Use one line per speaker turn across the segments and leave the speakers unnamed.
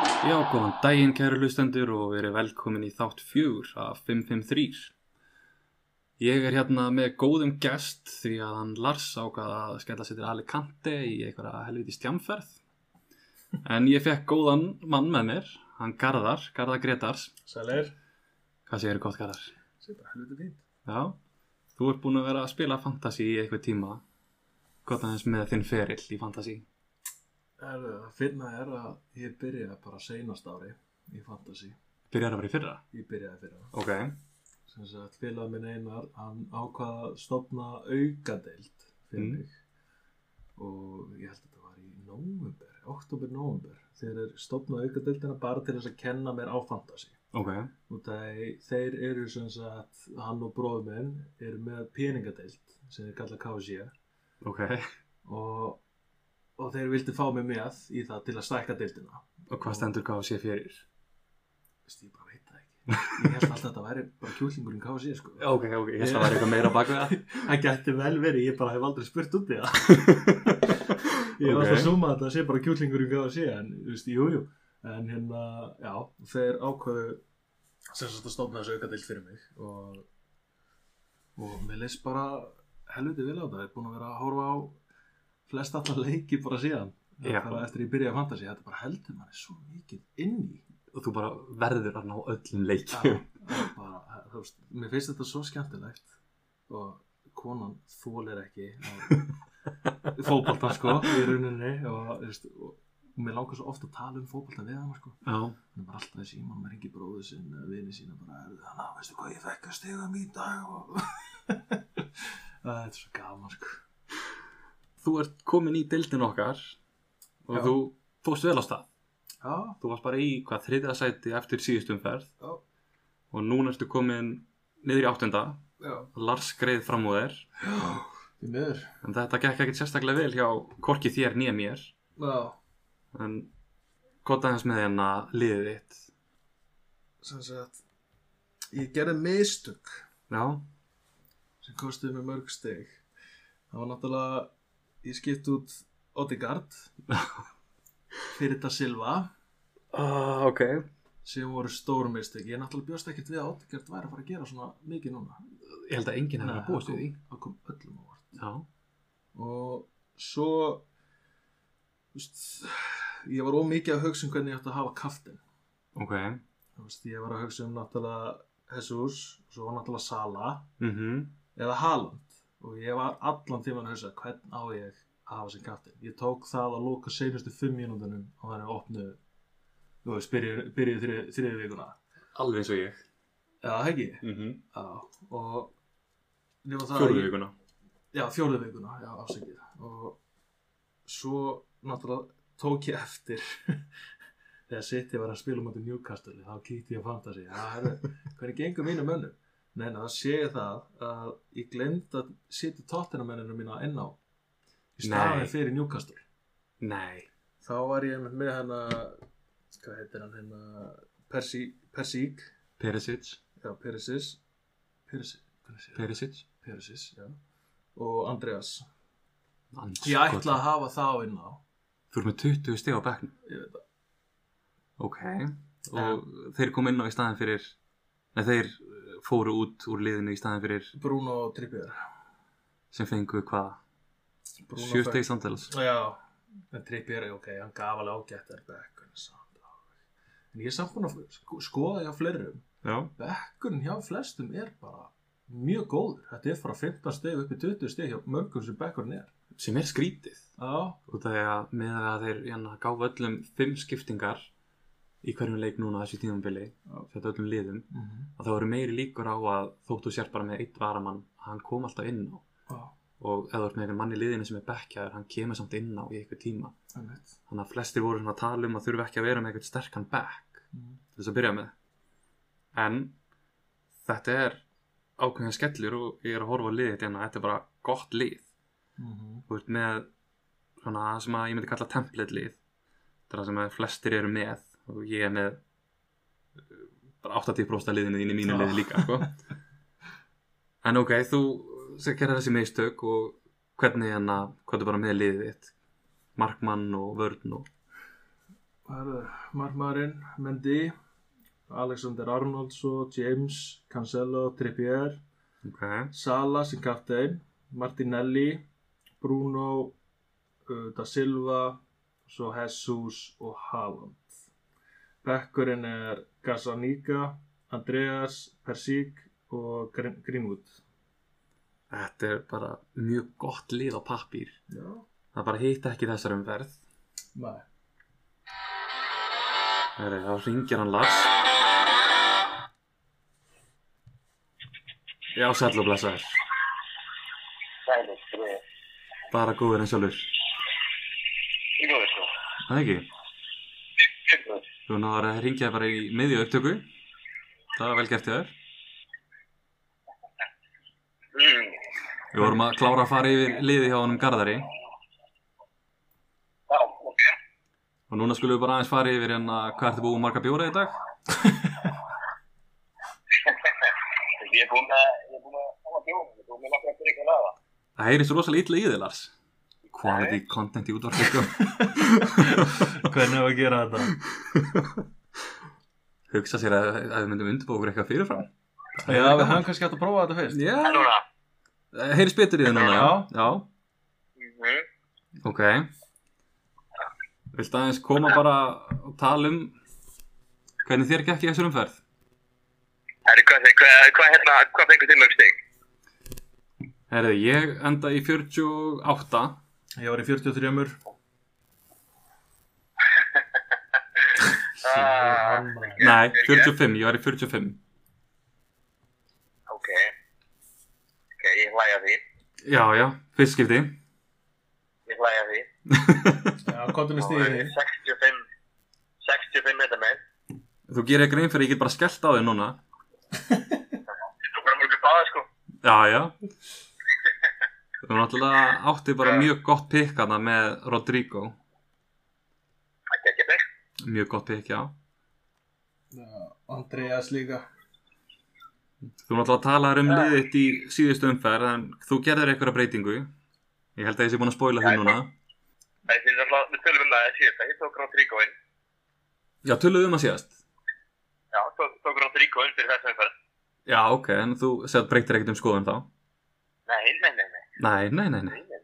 Góðan daginn, kæru hlustendur og verið velkomin í þátt fjögur af 553. Ég er hérna með góðum gest því að hann Lars ákvað að skella sér til Alicante í einhverja helviti stjamferð. En ég fekk góðan mann með mér, hann Garðar, Garðar Gretars.
Sælir.
Hvað segir gott Garðar?
Sér bara helviti fínt.
Já, þú ert búin að vera að spila fantasy í eitthvað tíma. Hvað aðeins með þinn ferill í fantasy?
Herðu, það finna er að ég byrjaði bara seinast ári í Fantasy.
Byrjar að vera í fyrra?
Ég byrjaði fyrir það.
Ok,
Sem sagt, félag minn einar, hann ákvaða að stopna aukadeild fyrir
Mm.
mig. Og ég held að þetta var í nóvember, oktober-nóvember. Þeir eru stopnað aukadeildina bara til þess að kenna mér á Fantasy.
ok,
Og það, þeir eru sem sagt, hann og bróður minn eru með peningadeild sem þeir kalla KSJ.
ok.
og, og þeir vildi fá mig með í það til að stækka deildina
Og hvað stendur gáð sé fyrir?
Vist, ég bara veit það ekki ég held alltaf að þetta væri bara kjúlingurinn KFC sko.
Ok, ok, ég held að það var eitthvað meira bak við það.
það gæti vel verið, ég bara hef aldrei spurt út í það ég hef
Ok.
alltaf súmað að það sé bara kjúlingurinn KFC en þú veist, jú, jú en hérna, já, þeir ákvöðu sem sagt að stofna þessu aukadeild fyrir mig og, og mér leist bara helviti vel á það ég er búin að vera að horfa á flest allar leiki bara síðan
Já.
bara eftir ég byrjaði að fanta sig, þetta bara heldur manni svo mikið inn í
og þú bara verður að ná öllum
Já,
leikjum
það er bara, þú veist, mér finnst þetta svo skemmtilegt og konan þólir ekki fókbalta sko í rauninni og, þú veist, og mér langar svo ofta að tala um fókbalta við hann sko
Já,
hann er bara alltaf í síman, maður hengi bróðu sinn eða vini sína bara, "Heyrðu, þannig að veistu hvað ég fekk að stiga um í dag og það er svo gaman sko
þú ert komin í deildin okkar og
Já.
þú fóst vel á stað
já,
þú varst bara í hvað þriðja sæti eftir síðustumferð
já,
og núna ertu komin niður í áttunda
já,
Lars greið fram úr þér
já því miður,
en þetta gekk ekkert sérstaklega vel hjá Korki þér nýja mér
já
en gott aðeins með hérna liðið þitt
sem sagt, ég gerði mistök
Já,
sem kostiði mig mörg steg það var náttúrulega ég skipti út Odegaard fyrir þetta Silva
uh, ok
sem voru stórum mistök ég náttúrulega bjóst ekkert við að Odegaard væri að fara að gera svona mikið núna
Ég held að enginn hefði
Nei,
búist við
það
því
kom- það kom öllum á vart
Já,
og svo þú veist, ég var ómikið að hugsa um hvernig ég átti að hafa kaftin
ok
þú veist, ég var að hugsa um náttúrulega Jesus, svo var náttúrulega Sala
mm -hmm.
eða Haaland og ég var allan tíman að hugsa hvern á ég að hafa sem kaptinn ég tók það að loka seinustu fimm mínúndunum og þannig að opnu þú veist, byrjuðu byrju þriði, þriði vikuna
Alveg eins og ég
eða ekki
mm -hmm.
já, og nema það að
Fjóruðu
ég-
vikuna
já, fjóruðu vikuna, já, afsakið og svo náttúrulega tók ég eftir þegar City var að spila um þetta Newcastle þá kýtti ég að fanta sig já, herru, hvernig gengur mínu mönnum neina, þá sé ég það að ég glemd að City tóttina mönninu mína enná í
Nei.
staðin fyrir Newcastle
Nei
þá var ég einmitt með hana hvað heitir hann hérna Persi, Persík
Perisic
já, Perisis Perisis, Perisis,
Perisic
Perisis já. og Andreas
Andskoti.
ég ætla að hafa það á inná
Þú erum með 20 stig á bekknum
ég veit það,
Ok Og þeir kom inn á í staðin fyrir Nei, þeir uh, fóru út úr liðinu í staðin fyrir
Bruno Trippier
sem fengu hvað?
Bruno
Sjö
fær-
stig samtals
Já, en Trippier, ok, hann gaf alveg ágætt er Beckun samt alveg. En ég er samt búin að sko- skoða hjá flerum
Já
Beckun hjá flestum er bara mjög góður Þetta er frá 15 steg upp í 20 steg hjá mörgum sem Beckun er
Sem er skrítið
Já,
Út af því að með að þeir hérna, gáf öllum fimm skiptingar í hverjum leik núna á þessu tíðumbili
Já.
þetta öllum liðum
mm
að það voru meiri líkur á að þóttu sér bara með eitt varamann hann kom alltaf inn á
já,
og ef þú ert með einhvern mann í liðinu sem er bekkjaður hann kemur samt inn á í eitthvað tíma
einmitt
þannig að flestir voru svona að tala um að þurfa ekki að vera með eitthvað sterkan back
Mhm.
til þess að byrja með en þetta er ákveðin skellur og ég er að horfa á liðið en þetta er bara gott lið
Mhm.
þú ert með svona það sem að ég myndi kalla template lið þetta er það sem að flestir eru með og ég er með uh, bara 80% af liðinu þín í mínu
Já.
liði líka sko. en ok, þú sem gerir þessi meistök og hvernig hérna, hvað er bara með liðið þitt markmann og vörn og
Herðu, markmaðurinn, Mendy, Alexander Arnoldsson, James, Cancelo, Trippier,
Ok,
Sala sem kaptein, Martinelli, Bruno, uh, Da Silva, svo Jesus og Haaland. Bekkurinn er Gazzaniga, Andreas, Persík og Grin- Greenwood.
þetta er bara mjög gott lið á pappír.
Já,
Það bara hitta ekki þessar umverð.
nei.
Það er þá ringir hann Lars. Já, sæll og blessaður.
Sælir, friður.
Bara góður eins og lur.
Í góður svo.
Það er ekki?
Góður.
Þú náður að ringja bara í miðju upptöku. Það var vel gert í þér.
Mm.
Við vorum að klára að fara yfir liði hjá honum Garðari
Já, ok.
og núna skulum við bara aðeins fara yfir hérna hvað ertu búið marga bjóra í dag?
Ég er búinn með, ég er búinn með sama bjóðum, ég er búinn með nokkra fyrir ekki að laga.
Það heyrist rosalega illa í þig, Lars. Quality content í útvarfleikum.
Hvernig hefur að gera þetta?
Hugsa sér að, að við myndum undirbúið okkur eitthvað fyrirfram. Það er
Já, við
gaman.
hefum kannski hægt að prófa þetta fyrst.
Já,
En núna?
það heyrist betur í þig núna, já. Já,
Mhm.
ok. Viltu aðeins koma bara og tala um hvernig þér gekk í þessu umferð?
Herri, hvað, hvað, hvað hérna, hvað fengur þið mörg stig?
Herði, ég enda í 48.
Ég var í 43-mur.
Ah.
Nei, 45, ég var í 45.
Ok. Ok, ég hlæja því.
Já, já, fyrst skipti.
Ég hlæja því.
Já, komdu með
Og, eh,
stíðinni.
65, 65 metra með.
Þú gerir þér grein fyrir að ég get bara skellt á þig núna.
Þú bara mörgur báða, sko.
Já, já. Þú náttúrulega átti bara mjög gott pikk hana með Rodrigo.
Það gekk ég þig.
Mjög gott pikk, já.
Andreas líka.
Þú náttúrulega talaður um liðið þitt í síðustu umferð en þú gerðir einhverja breytingu. Ég held að ég sé búin að spoila því
Já,
núna.
Það er alltaf, við tölum um það síðast, ég tók hann þríkóin.
Já, töluðum að síðast.
Já, tók, tók hann þríkóin fyrir þessum fyrir.
Já, ok, en þú segð breytir ekkert um skoðun þá.
Nei, nei, nei, nei,
Nei, nei, nei, nei.
nei, nei.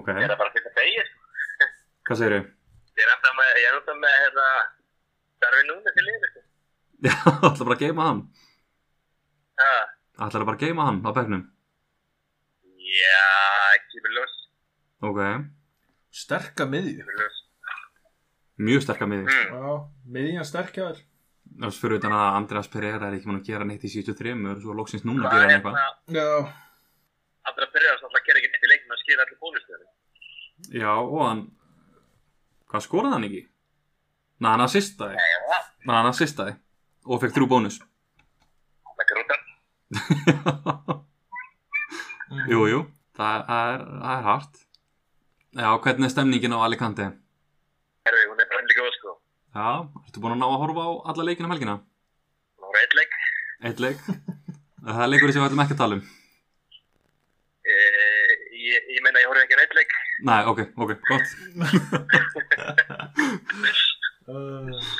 Ok,
Ég er það bara fyrir að segja, sko.
hvað segir þau?
Ég er alltaf með, ég er alltaf með, hérna, Darvin Núnes í liður, sko.
Já, ætla bara að geima hann.
Ha,
Ætla bara að geima hann á bekknum.
já, kemur ljós,
Ok,
Sterka miðju.
kemur ljós.
mjög sterkar miði.
Mm.
Já, miðjan sterkjaður.
Þess fyrir utan að Andreas Pereira er ekki mann að gera neitt í 73 og svo loksins núna að
Hvað
gera
er
hann eitthvað.
hérna,
Já.
allra byrjar þess að það gerir ekki neitt í leikinu að skýra allir bónustöður.
Já, og hann Hvað skoraði hann ekki? Næ, hann assistaði
Nei, það,
Næ, hann assistaði Og fekk þrjú bónus
það grútar.
Jú, jú, það er, það er hart Já, hvernig er stemningin á Alicante?
Herfi, hún er brennlega góð, sko.
Já, ertu búin að ná að horfa á alla leikina um helgina?
Hún var eitt leik.
Eitt leik Það er leikur sem við ætlum ekki að tala um
E, ég, ég meina, ég horfði ekki á eitt leik.
Næ, ok, ok, gott
Uh,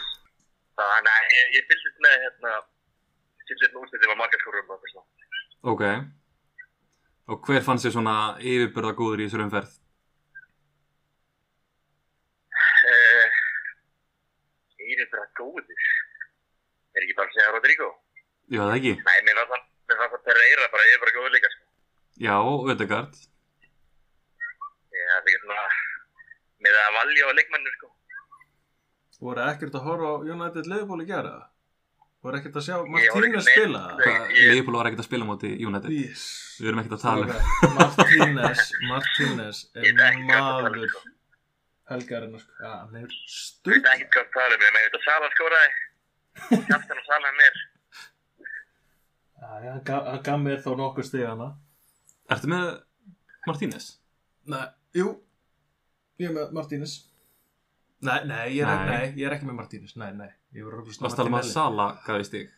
Þannig að ég, ég fylgist með, hérna, fylgist með úrstöðum á margarskórum og þess að.
Ok Og hver fannst þér svona yfirbörða góður í þessu umferð?
E, ég er bara góður. Er ekki bara að segja Rodrigo?
Já, það ekki
Nei, mér fannst það, mér fannst það Pereira bara, ég er bara góður líka, sko.
Já, Ödegard
Ég er ekki svona, með að valja á leikmannum, sko.
voru ekkert að horfa á United Liverpool í gera það? Voru ekkert að sjá
horfði ekki
Martínez
neitt.
spila það?
Hvað,
Ég-
Leifból var ekkert að spila móti United
Ís.
Við erum ekkert að tala um
Martínez, Martínez
Ég veit
er
ekki hvað það
maður
er, sko.
helgarinn sko. Já, hann er
Ég veit
stutt.
ekki hvað það er með, ég veit að Sala skoraði, kæftan og Sala er mér.
Já, já, hann gaf- hann gaf mér þá nokkuð stig hana.
Ertu með Martínez?
Nei, jú, ég er með Martínez. Nei, nei, ég er,
Nei.
nei, ég er ekki með Martínez, nei, nei, ég voru röfnist
Það stala maður um Sala gæði stig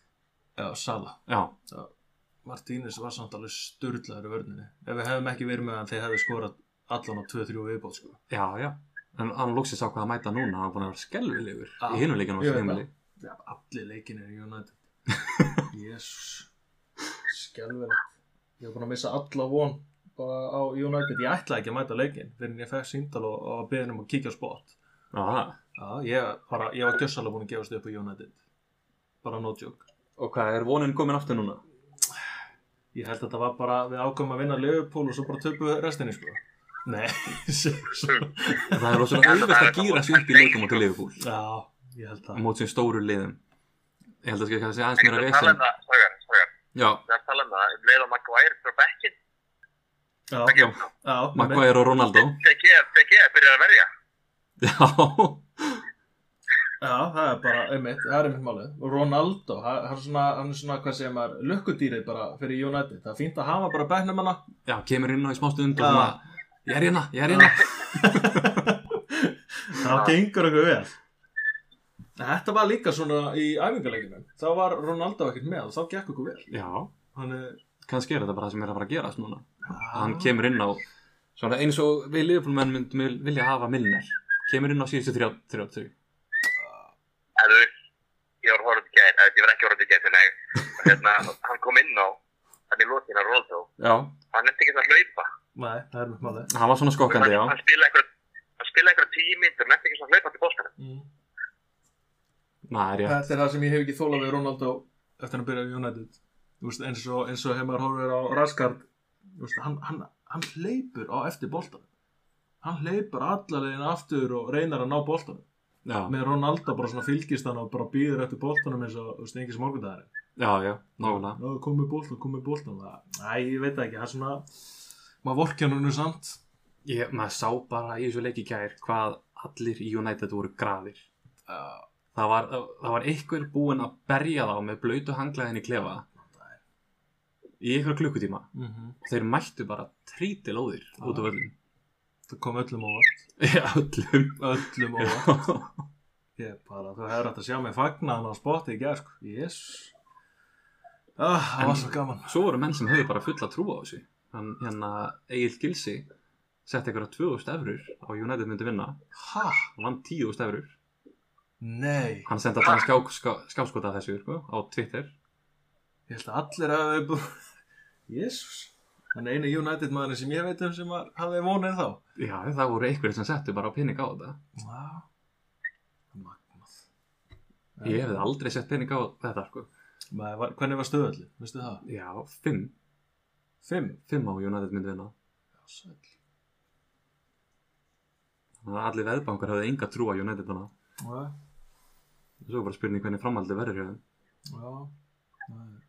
Já, Sala.
Já,
Martínez var samt alveg sturlaður í vörninni. Ef við hefum ekki verið með hann, þeir hefðu skorað allan á 2-3 viðbóð, sko.
já, já en hann loksins ákvað að mæta núna hann var búin að vera skelvilegur
Ah,
í hinum leikinu á
ég veit
heimili
Já, allir leikin er United Jésús Skelverið Ég er búin að missa alla von bara á United Ég ætlaði ekki að mæta leikin fyrir en ég fekk síndal og, og beðin um að kíkja á spot
Já, það.
Já, ég, bara, ég var gjössalega búin að gefast upp á United Bara no joke
og hvað er vonin komin aftur núna
Ég held að þetta var bara við ákvæmum að vinna Liverpool og svo bara töpu restinni sko Nei, svo
það er rosalega auðvist að gýra sig upp í leikum á til Liverpool
Já, ég held að
mót sem stóru liðum ég held að það sé aðeins
Ég
meira
er að tala
vesen
um það, Sagar, Sagar,
já,
ég er að tala um það, um leið og Maguire frá bekkinn,
Já,
ekki,
já.
já, með-
Maguire og Ronaldo
TG, TG, byrjar að verja.
já,
já, það er bara einmitt, það er einmitt málið Og Ronaldo, það það er svona, hann er svona, hvað segir maður, lukkudýrið bara fyrir United Það er fínt að hafa bara bæknum hana
já, kemur inn á í smá stund og
Já.
svona ég er hérna, ég er hérna
Það gengur okkur vel Þetta var líka svona í æfingarleikinu Þá var Ronaldo ekkert með og þá gekk okkur vel
já,
Hann er
kannski er þetta bara það sem er að fara að gerast núna hann kemur inn á svona eins og við Liverpool-menn myndum vil- vilja hafa Milner kemur inn á síðustu 30
Þú, ég var horfðið gæð, eða ég var ekki horfðið gæð, en ég, hérna, hann kom inn á, hann er lótin af Roldo,
já,
hann er ekki að hlaupa.
Nei, það er mjög máli
hann var svona skokkandi já,
hann, hann spila eitthvað, hann spila eitthvað tíu myndur, hann er ekki að hlaupa til bóstanum.
Mm.
næ, er ég
Þetta er það sem ég hef ekki þólað við Ronaldo eftir að byrja í United Þú veist, eins, og, eins og hef maður horfir á Raskard Þú veist, hann, hann, hann hleypur á eftir boltan Hann hleypur allalegin aftur og reynar að ná boltan
já,
Með Ronaldo bara svona fylgist hann og bara býður eftir boltanum eins og, þú veist, engin smorgundagari
já, já, nákvæmlega
Já, komið bóltan, komið bóltan Æ, ég veit það ekki, það er svona maður vorkja núna samt
ég, maður sá bara í þessu leiki í gær hvað allir í United voru grafir
uh,
það var, það var einhver búinn að berja þá með blöytu hanglaðin í klefa í einhver klukkutíma
mm
og þeir mættu bara trítilóðir út af öllum
Það kom öllum óvart
já, öllum
Öllum óvart Ég bara, þú hefur hægt að sjá mig fagna hann á spotti í gerð sko. Yes ah, Það
En-
var svo gaman
svo voru menn sem höfðu bara fulla trú á þessu hann hérna Egil Gilsi sett einhverja 2000 efrur á United myndi vinna
Ha,
hann vann 10.000 efrur
nei
hann senda þannig ská, ská, skáskota af þessu sko, á Twitter
Ég held að allir hafi búið Jesus Þannig einu United maðurinn sem ég veit um sem var, hafði vonið þá
já, það voru einhverjir sem settu bara pening á þetta
Vá Magnað
ég hefði aldrei sett pening á þetta sko.
Maður var- Hvernig var stöðallin, veistu það?
já, 5
Fimm
5 á United myndi vinna
Sæll.
þannig að allir veðbankar höfðu enga trú á United þannig
Já,
svo er bara spurning hvernig framhaldið verður hjá þeim
já. Það er-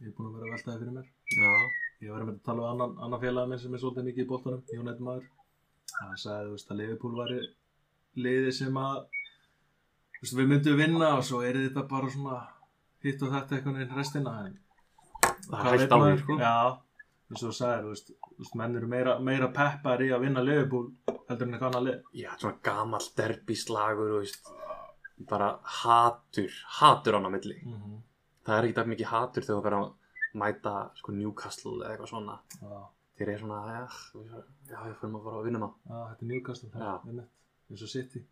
Ég er búin að vera að veltaði fyrir mér.
já,
Ég var einmitt að tala við annan, annan félagið minn sem er svolítið mikið í boltanum, Jónætt maður. Hann sagði þú veist, að Liverpool var liðið sem að þú veist, við myndum vinna og svo er þetta bara svona hitt og þetta einhvern veginn restina. En,
það er
Hvað veit
hægt á því
maður?
sko.
Já, eins og þú sagðir, þú veist, þú veist, menn eru meira, meira peppar í að vinna Liverpool heldur en eitthvað annað lið.
Já, svona gamall derbislagur og veist, bara hatur, hatur hann á milli.
Mm
Það er ekki það mikið hatur þegar þú verður að mæta sko, Newcastle eða eitthvað svona.
Já,
Þeir eru svona, já, já, við fyrir að fara að vinna maður.
já, þetta er Newcastle, það
Já.
er einmitt, eins og City.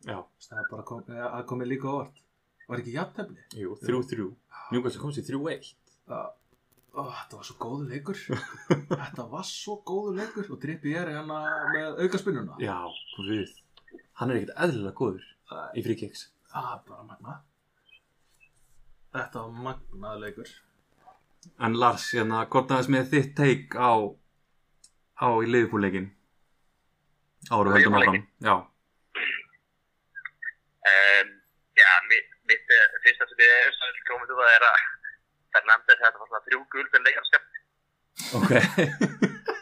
Já,
Þú veist, það er bara kom, eh, að komið líka á vart var ekki jafntefni
jú, þrjú, þrjú. Newcastle komst í þrjú eitt.
Ó, þetta var svo góðu leikur þetta var svo góðu leikur og drippi ég er hérna með aukaspinnuna
Já, við. Hann er ekkert eðlilega góður
það
í fríkiks.
er bara magna þetta var magnað leikur
En Lars, hérna, hvort aðeins með þitt teik á, á í liðbúleikin? Áru höldum áfram. Já,
Um, já, mitt, mitt eh, fyrsta sem ég er svo komið út að er að Fernandes þetta var svona þrjú gul fyrir leikarskap,
ok.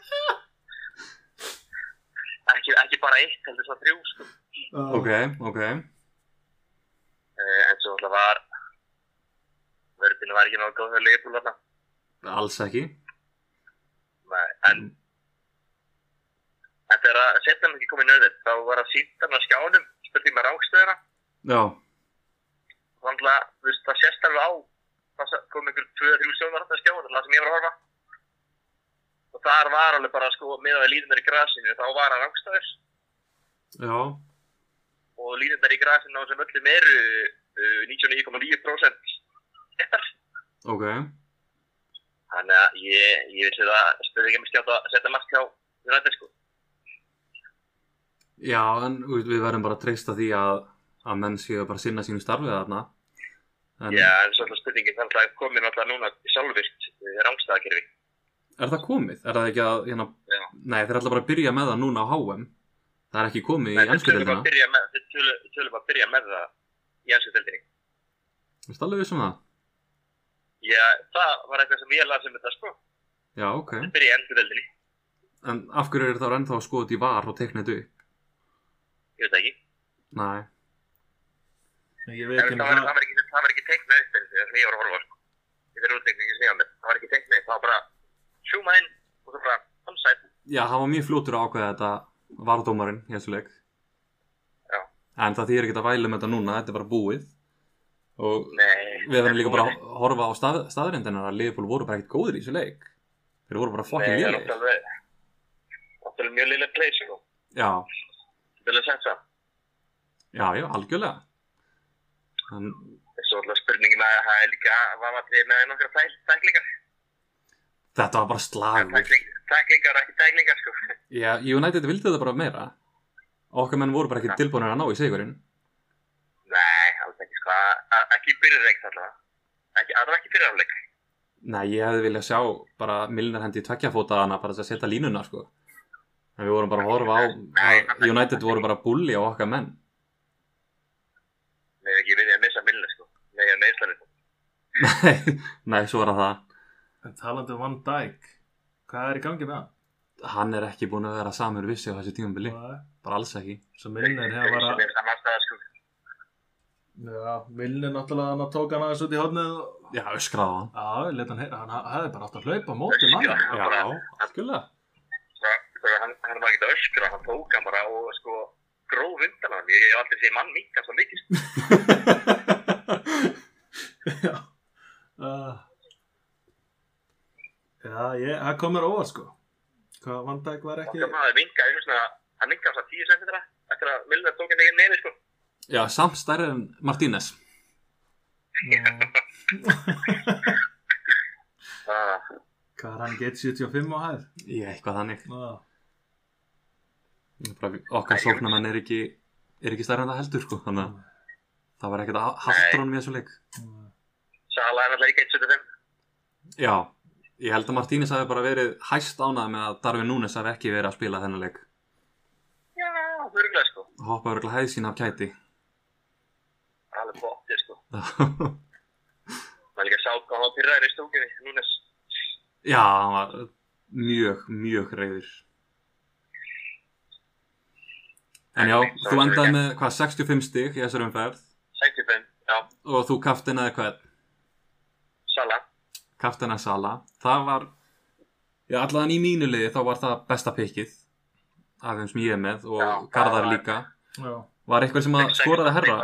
ekki, ekki bara eitt, heldur svona þrjú, sko.
ok, ok.
Uh, en svo alltaf var, verðinu var ekki nógu góð fyrir leikarbúl þarna.
Alls ekki.
Nei, en en þegar að setja hann ekki komið nöðið þá var að sýnda hann á skjánum spurning með rákstöðina
Já.
þannig að þú veist það sést alveg á það sa- kom einhver 2-3 sjónar á skjánum það sem ég var að horfa og þar var alveg bara sko meðan við líðum er í grasinu þá var hann rákstöður
já,
og línirnar í grasinu á þessum öllum eru uh, 99,9% réttar.
ok,
Þannig að ég, ég vissi það spurði ekki með skjátt að setja mark hjá United sko.
já, en þú veist, við verðum bara að treysta því að, að menn séu bara að sinna sínu starfið þarna en
Já, en svo alltaf spurningin þannig að komin alltaf núna sjálfvirkt uh, rángstæðakerfi.
er það komið? Er það ekki að, hérna,
Já.
nei, þeir ætla bara að byrja með það núna á HM það er ekki komið
Nei,
í
við
ennsku
tölum
deildina
bara að byrja með- Við tölum við tölum bara að byrja með það í ennsku deildinni.
Vist alveg vissum það?
Já, það var eitthvað sem ég lasi um þetta sko.
Já, ok.
Við byrja í ennsku deildinni,
En af hverju er það ennþá skoðið í var og teiknið upp?
ég veit það ekki.
Nei.
Ég
En
veit ekki
það var, það var ekki, það var ekki teiknað upp þessi þegar ég var að horfa á, sko. Þetta er útleikning í sníðan það var ekki teiknað upp, það var bara sjúma inn og svo bara hansætt.
Já, hann var mjög fljótur að ákveða þetta varðdómarinn í þessu leik.
Já.
En það þýr ekkert að væla með þetta núna, þetta er bara búið. Og
Nei.
við verðum líka bara að horfa á stað, staðrindinar að Liverpool voru bara ekkert góðir í þessu leik. Þeir voru bara fokkin
Nei,
lélegir.
náttúrulega náttúrulega mjög liðlega play, sko.
Já,
Þetta er að segja það.
já, já, algjörlega. En,
Þessu alltaf spurningin að það er líka var að við með nokkra tæ- tæklingar.
þetta var bara slagur.
Tækling- Tæklingar, ekki tæklingar, sko.
Já, United vildi þetta bara meira. Okkar menn voru bara ekkert tilbúinir að ná í sigurinn.
Nei, alls ekki, sko. A- a- Ekki í byrjarleik allavega. Ekki, það var ekki byrjarleik.
Nei, ég hefði viljað sjá bara Milner hendi í tveggjafóta hana bara til að setja línuna sko. En við vorum bara að horfa á að United voru bara að bulli á okkar menn.
Nei, ekki við að missa millina, sko. Nei, að meðslanir.
Nei, nei, svo er það.
En talandi um Van Dijk Hvað er í gangi með hann?
Hann er ekki búin að vera samur vissi á þessu tímabili.
Nei,
Bara alls ekki.
Svo Milner hefur bara
Sem er saman staða, sko.
Já, Milner náttúrulega hann tók hann aðeins út í hodnið og
Já, öskraði á hann.
Já, let hann heyra, hann ha- hefði bara átt að hlaupa á móti mann
Já, algjörlega.
bara- bara hann, hann var ekki að öskra, hann tók hann bara og sko gróf undan hann, ég hef aldrei séð mann minka svo mikið, sko.
Já uh, Já, ég, það kom mér á óvart sko Hvað Van Dijk var ekki
hann hafði minka, ég veist að hann minka svo 10 cm eftir að Milner tók hann ekki nefni sko,
Já, samt stærri en Martínez.
Já.
það
Hvað er hann ekki 1.75 á hæð?
Ég eitthvað þannig.
Já,
Bara, okkar sóknarmenn er ekki, er ekki stærri en það heldur sko. Þannig að það var ekkert að haldrón við þessu leik.
já.
sala er alltaf ekki 1.75
Já, ég held að Martínez hafi bara verið hæst ánað með að Darvin Núnes hafi ekki verið að spila þennan leik.
já, mörgulega sko,
Hoppa örgulega hæð sín af kæti.
alveg bótti sko
Já,
maður líka sá hvað hann pyrraður í stúkunni, núnes
hann var mjög, mjög reyður. En já, þú endaði með hvað, 65 stig í þessar umferð
65, já,
og þú kaftinaði hvern,
sala
kaftinaði Sala. Það var, já allan í mínu liði þá var það besta pikkið af þeim sem ég er með og
Já, það
Garðar
var-
líka.
Já.
Var eitthvað sem að skoraði herra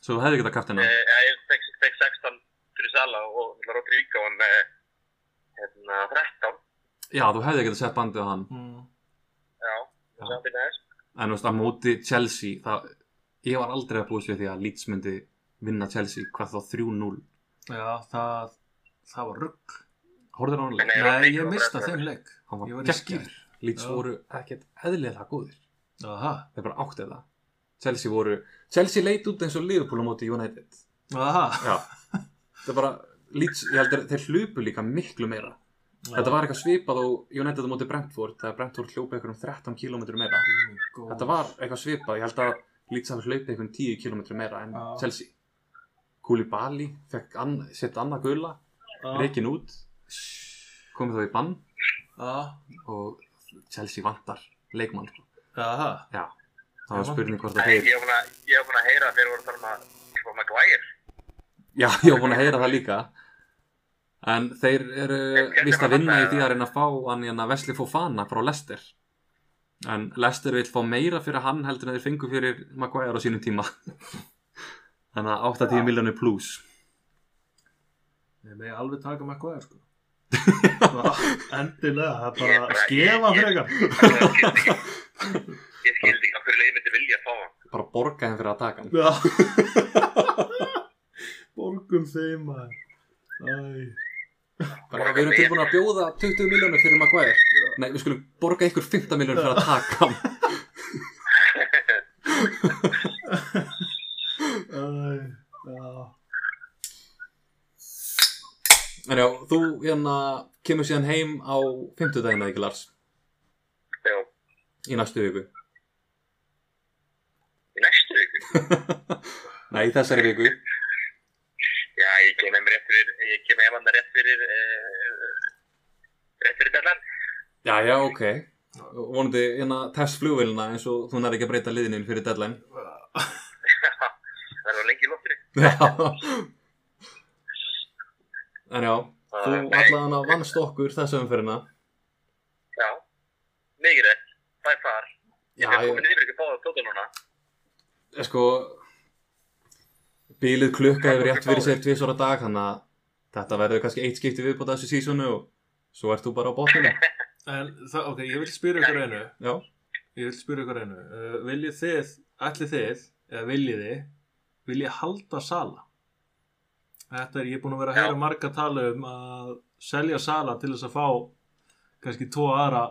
svo þú hefði getað
Eh,
kaftinað?
eh, ég fekk fekk 16 fyrir sala og Rodrigo hann eh, hérna 13
Já, þú hefði getað sett bandið á hann
Mm.
já, það er næst
En þú veist, að móti Chelsea það, Ég var aldrei að búast við því að Leeds myndi vinna Chelsea hvað þá 3-0
Já, það, það var rugg.
Hóruður á hann leik?
Nei,
Nei,
Rodrigo
ég
var
mista
eftir.
þeim leik.
Hann
Ég
var
var í
geggir
skjær.
Leeds
Já.
voru ekkert eðlilega góðir
Aha,
Þeir bara áttið það Chelsea voru Chelsea leit út eins og Liverpool á móti United
aha.
Já Það er bara Leeds Ég heldur þeir hlupu líka miklu meira Þetta var eitthvað svipað á United á móti Brentford þegar Brentford hljópa ykkur um 13 km meira Þetta var eitthvað svipað, ég held að Leeds hafi hlaupið einhvern 10 km meira en
Já.
Chelsea. Koulibaly fekk an, sett annað gula,
Ah.
reikin út, komið þá í bann
Ah.
og Chelsea vantar leikmann. sko.
Aha.
Já, það var
Já.
spurning hvort það
Nei,
þeir...
ég hef búin að- ég hef búin að heyra að þeir voru að tala um að sko Maguire
Já, ég var búin að heyra það líka. En þeir eru
Hvernig
vist
var
að vinna í
þetta?
því að reyna að fá hann hérna Vesli Fofana frá Leicester. En Leicester vil fá meira fyrir hann heldur en þeir fengu fyrir Maguire á sínum tíma. Þannig að 80 miljónir pluss.
Þeir megi alveg taka með hvað er sko. Endilega, það er bara skefa frekar
Ég skildi ekki Ég skildi ekki af hverju leiði myndi vilja fá hann
bara borga þeim fyrir að taka hann
Já Borgum þeim maður Æ,
bara við erum tilbúin að bjóða 20 miljónir fyrir Maguire nei, við skulum borga ykkur 15 miljónir fyrir að taka hann
æ, já
en já, þú hérna kemur síðan heim á 50 daginn eða ekki Lars
Já,
í næstu viku
í næstu viku
nei, í þessari viku
Já, ég kem heim rétt fyrir Ég kem heim hann rétt fyrir eh, Rétt fyrir dellan
já, já, ok Og vonandi hérna test flugvélina eins og þú nær ekki að breyta liðinin fyrir deadline
Það var lengi í loftinu
já en já, þú
Æ, nei,
allan að vannst okkur þessu umferðina
Já, mikið rétt Það er far
já,
Ég er
ég,
komin yfir ekki báða tóta núna
ég sko bílið klukka hefur rétt fyrir sér tvisvara dag þannig að þetta verður kannski eitt skipti viðbúta þessu sísonu og svo ert þú bara á botninu
En það, ok, ég vil spyrja ykkur einu
já,
Ég vil spyrja ykkur einu uh, Viljið þið, ætlið þið Eða viljið þið Viljið halda sala Þetta er, ég er búin að vera að heyra
Já.
marga tala um að selja sala til þess að fá kannski tvo aðra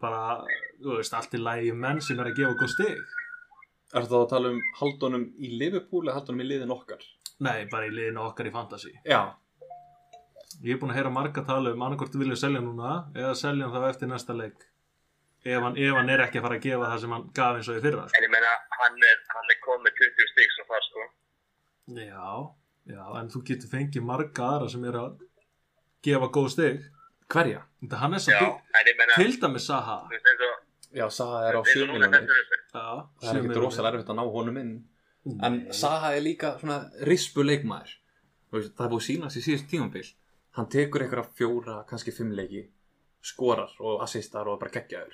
bara, þú veist, allt í lægi menn sem er að gefa góð stig
er það að tala um haldunum í Liverpool eða haldunum í liðin okkar
Nei, bara í liðinu okkar í fantasy
já,
Ég er búin að heyra marga tala um annarkort vilja selja núna eða selja hann þá eftir næsta leik ef hann, ef hann er ekki að fara að gefa það sem hann gaf eins og í fyrra sko.
En ég meina, hann er, hann er komið 20 stík svo far sko
Já, já, en þú getur fengið marga aðra sem er að gefa góð stig
hverja?
Þetta hann er
Já,
svo bygg,
en ég meina
til dæmis Saha
Þú veist eins og
já, Saha er á
eins og
7
núna
miljonir
þessu umferð.
Já,
það er ekkert rosalega erfitt að ná honum inn en
Saha
Saha er líka svona rispu leikmaður Þú veist, það er búið að sýna sér síðust tímambil hann tekur einhverja fjóra, kannski fimm leiki skorar og assistar og er bara geggjaður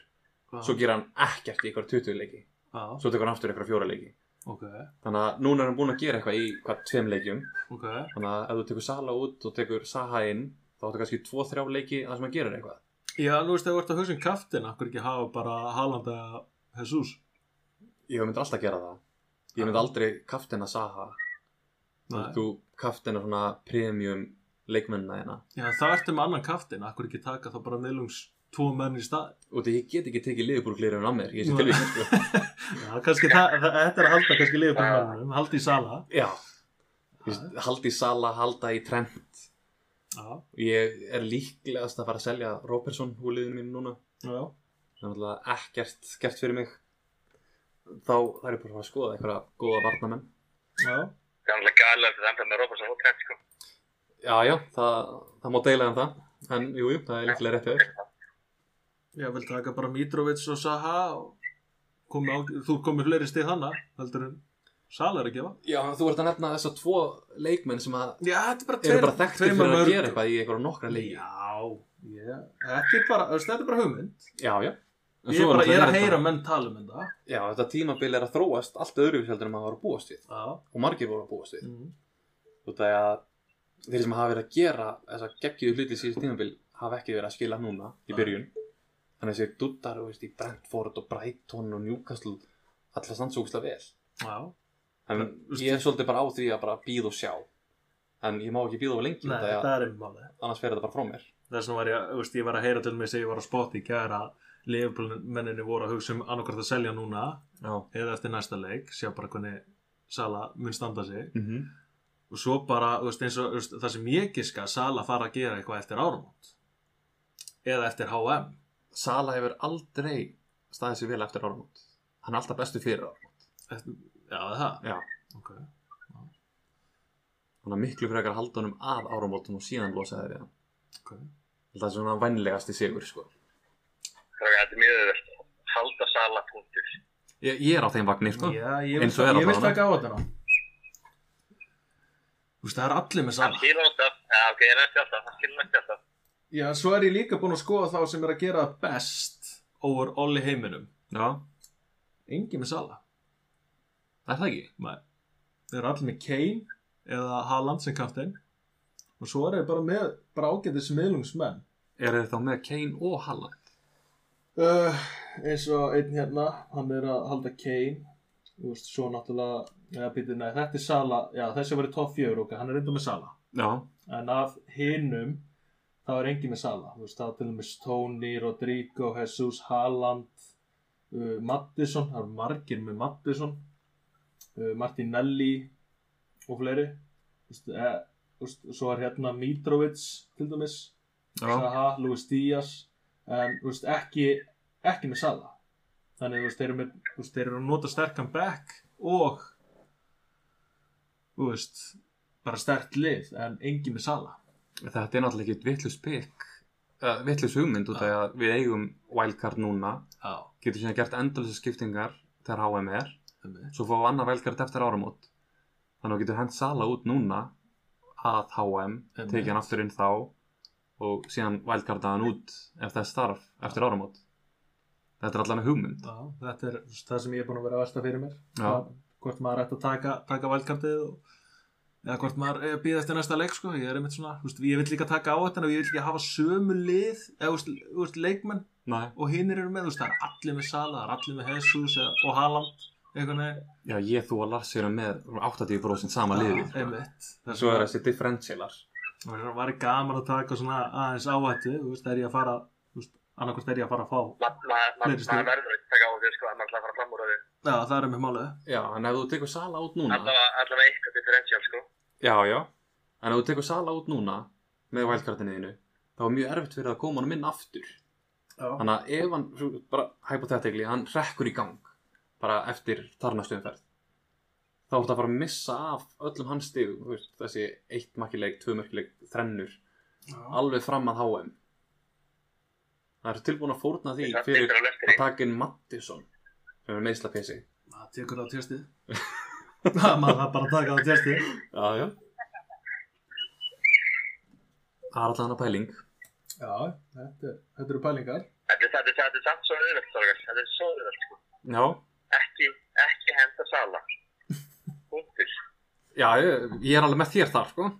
svo
Svo
gerir hann ekkert í einhverja 20 leiki
Já,
svo tekur hann aftur einhverja fjóra leiki
ok,
þannig að núna er hann búin að gera eitthvað í hvað tveim leikjum
ok
þannig að ef þú tekur Sala út og tekur Saha inn þá áttu kannski 2-3 leiki að sem hann gerir eitthvað
Já, nú veist, ef þú ert að hugsa um kaftin akkur ekki hafa bara Haaland eða Jesus
ég myndi alltaf gera það ég myndi aldrei kaftina Saha
Nei.
þú kaftina svona premium leikmennina hérna
Já, það ertu með annan kaftin, akkur ekki taka þá bara meðlungs tvo menn í stað
og því ég get ekki tekið liðbúrglirinn á mér í þessi
Nei.
tilvíkjum sko.
Já, kannski það, það, þetta er að halda kannski liðbúrmannum, halda í sala
já Þú veist, halda í Sala, halda í Trent
Já,
ég er líklegast að fara að selja Robertson úr liðinu mínu núna
já,
sem er alltaf ekkert gert fyrir mig þá það er bara að fara að skoða einhverja góða varnamenn
já
Það er alveg gæla að það enda með Robertson og Trent sko
já, já, það, það má deila um það en jú, jú, það er líklega rétt hjá þér
Já, vel taka bara Mitrovic og Saha og komi á, þú komið fleiri stig hana heldur en sala er að gefa
já, þú ert að nefna þess að tvo leikmenn sem að
Já, þetta er bara
eru bara þekktir fyrir að gera eitthvað í einhverja nokkra leiki já,
Já, yeah. þetta, er bara, þú veist, þetta er bara hugmynd
já En
Ég
svo
er, bara,
náttúrulega
ég er að
þetta-
heyra menn tala um þetta
já, þetta tímabil er að þróast allt öðru heldur en maður var að búast við
Já,
og margir voru að búast við
mm.
út af því að þeir sem hafa verið að gera þessa geggiðu hluti síðan tímabil hafa ekki verið að skila núna í
Nei.
byrjun þannig að þessi duttar og veist í Brentford og Brighton og Newcastle alltaf sannsókslega vel
já,
en
Þú veist-
ég er svolítið bara á því að bara býð og sjá en ég má ekki býða of lengi
nei,
út af því að
þetta er einnig máli
annars fer þetta bara frá mér
þess vegna var ég, þú veist, ég var að heyra til mig sem ég var að spotta í gæra leifbólmenninni voru að hugsa um annarkvært að selja núna
já
eða eftir næsta leik, sjá bara hvernig Sala mun standa sig
mm -hmm.
og svo bara, þú veist, eins og þú veist, það sem ég giska að Sala fara að gera eitthvað eftir árumót eða eftir HM
Sala hefur aldrei staðið sér vel eftir árumót hann er alltaf bestu fyrir árumót
eftir, já, er það
Já.
ok,
hann er miklu frekar að halda honum að árumótum og síðan losaði við hann
ok
það er svona vænlegasti sigur sko.
Það er þetta er mjög öðvöld Halda sala punktur
ég, ég er á þeim vagnir sko.
já, ég
Eins og er
vil- ég
allavega.
vil taka á þetta ná þú veist, það er allir með
Hann
Sala
skilur alltaf Já, ok, ég nefndi alltaf Hann skilur ekki alltaf
já, svo er ég líka búin að skoða þá sem er að gera það best over all í heiminum
já,
engin með Sala
er það ekki?
Nei. Þeir eru allir með Kane eða Haaland sem kaftin og svo er þeir bara með bara ágætið smiðlungsmenn
Er þeir þá með Kane og Haaland?
uh, eins og einn hérna hann er að halda Kane þú veist, svo náttúrulega eða, býtum, nei, þetta er Sala, já þessi var í top 4 okkar, hann er reynda með Sala
Já,
en af hinnum þá er engin með Sala þú veist, það er til dæmis Tony, Rodrigo, Jesus, Haaland uh, Mattisson, það eru margir með Mattisson uh, Martinelli og fleiri þú veist, eh, þú veist, svo er hérna Mitrovic til dæmis
já,
Saha, Luis Díaz en þú veist, ekki, ekki með Sala þannig þú veist, þeir eru, með, þú veist, þeir eru að nota sterkan back og þú veist bara sterkt lið en engin með Sala
þetta er náttúrulega ekki vittlust pekk uh, vittlust hugmynd út af því að við eigum wildcard núna,
Já,
getur síðan gert endalisa skiptingar þegar HM er
einmitt.
svo fáum við annað velkart eftir áramót þannig að við getum hent Sala út núna að HM,
Einmitt.
tekið hann aftur inn þá og síðan velkarta hann út ef það er starf eftir áramót þetta er allan að hugmynd
Já, þetta er þú veist, það sem ég er búin að vera að versta fyrir mér
Já.
Hvað- hvort maður ætti að taka, taka valkartið og, eða hvort maður eh, býðast í næsta leik sko. ég er einmitt svona, þú veist, ég vil líka taka á þetta og ég vil ekki hafa sömu lið eða þú veist, þú veist, leikmenn
Nei.
og hinnir eru með, þú veist, það er allir með Sala, það er allir með Jesus eða- og Haaland einhvern veginn,
já ég þú og Lars erum með 80% sama liði
Já, Ah, einmitt
en svo er þessi differentialar
það var- var gaman að taka svona aðeins áhættu, þú veist, er ég að fara þú veist, annarkvæmst er ég að fara að fá
Ma- ma- ma-
Fleiri stig.
maður verður að taka á því sko annars að fara fram úr því
já, það er mér málið
já en ef þú tekur Sala út núna
allavega allavega eitthvað differential sko
já já en ef þú tekur Sala út núna með velkartinniðinu þá er mjög erfitt fyrir að koma hann inn aftur
já,
Þannig að ef hann, svo- bara hypothetically, hann rekkur í gang bara eftir þarnastuðumferð þá ertu að fara að missa af öllum hans stigum, þú veist, þessi eitt makkileik, tvö makkileik, þrennur
já.
alveg fram að HM Það er tilbúin að fórna því
það
fyrir
styttir á
að
löftinni
taka inn Mattisson sem er meðsla PC
maður tekur það á tjastið maður þarf bara að taka það á tjastið
Já, já Það er allan að pæling
Já, þetta, er- þetta eru pælingar.
þetta er- þetta er- þetta er samt svo auðvelt sorgar þetta er svo auðvelt sko
Já,
ekki ekki henda sala punktur
já ég, ég er alveg með þér þar, sko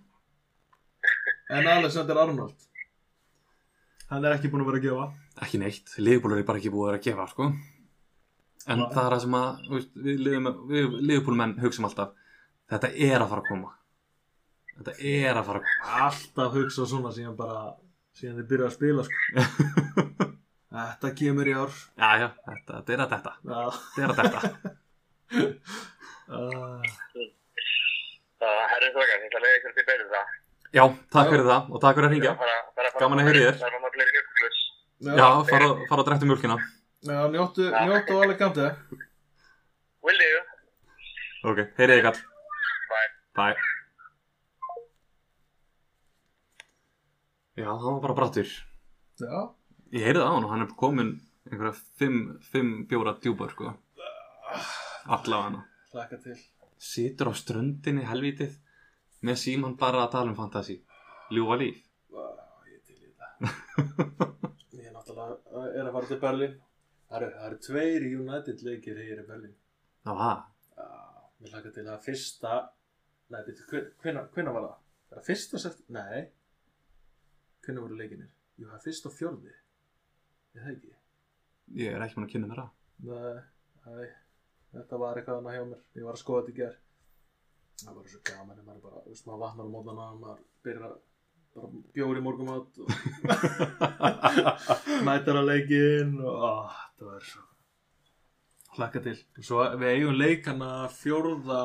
En Alexander Arnold, hann er ekki búin að vera að gefa.
ekki neitt, Liverpool er bara ekki búið að vera að gefa sko. en
Nei.
það er það sem að þú veist, við, lifum, við Liverpool menn hugsaum alltaf þetta er að fara að koma þetta er að fara að
Alltaf hugsa svona síðan bara, síðan þið byrja að spila, sko. þetta kemur í ár.
koma já já, þetta, þetta er að þetta
Já.
þetta er að þetta
Uh,
það herri sorgar ég ætla að leiða ykkur til betur það
já, takk fyrir það og takk fyrir að ringja Gaman að heyra í þér.
það er maður bleið jökulus
já, fara, fara að um drekta mjölkina
Já, njóttu, njóttu Alexander.
will you
ok, heyrið ykkar
Bye.
bye já, það var bara brattur
Já.
ég heyrið það á hann og hann er komin einhverja fimm, fimm bjóra djúpar sko allavega hana
Hlaka til.
situr á ströndinni helvítið með síman bara að tala um fantasi ljúfa líf
Vá, ég til í þetta. ég er náttúrulega, uh, er að fara til Berlín. Það eru- það eru tveir United leikir hér í Berlín.
það var það,
Já, mér hlaka til að fyrsta Nei, betur, hvenna var það? Var það fyrsta sett? Nei Hvenna voru leikinir? Jú, það er fyrsta og fjórði Ég það ekki
ég er ekki mann að kynna mér það
Nei, nei Þetta var eitthvað annað hjá mér Ég var að skoða þetta í ger Það var svo gaman en maður bara, þú veist, maður vatnar á mótana maður byrjar að bara bjóri morgumat og mætar að leikinn og á, það var svo hlakka til og svo við eigum leikana fjórða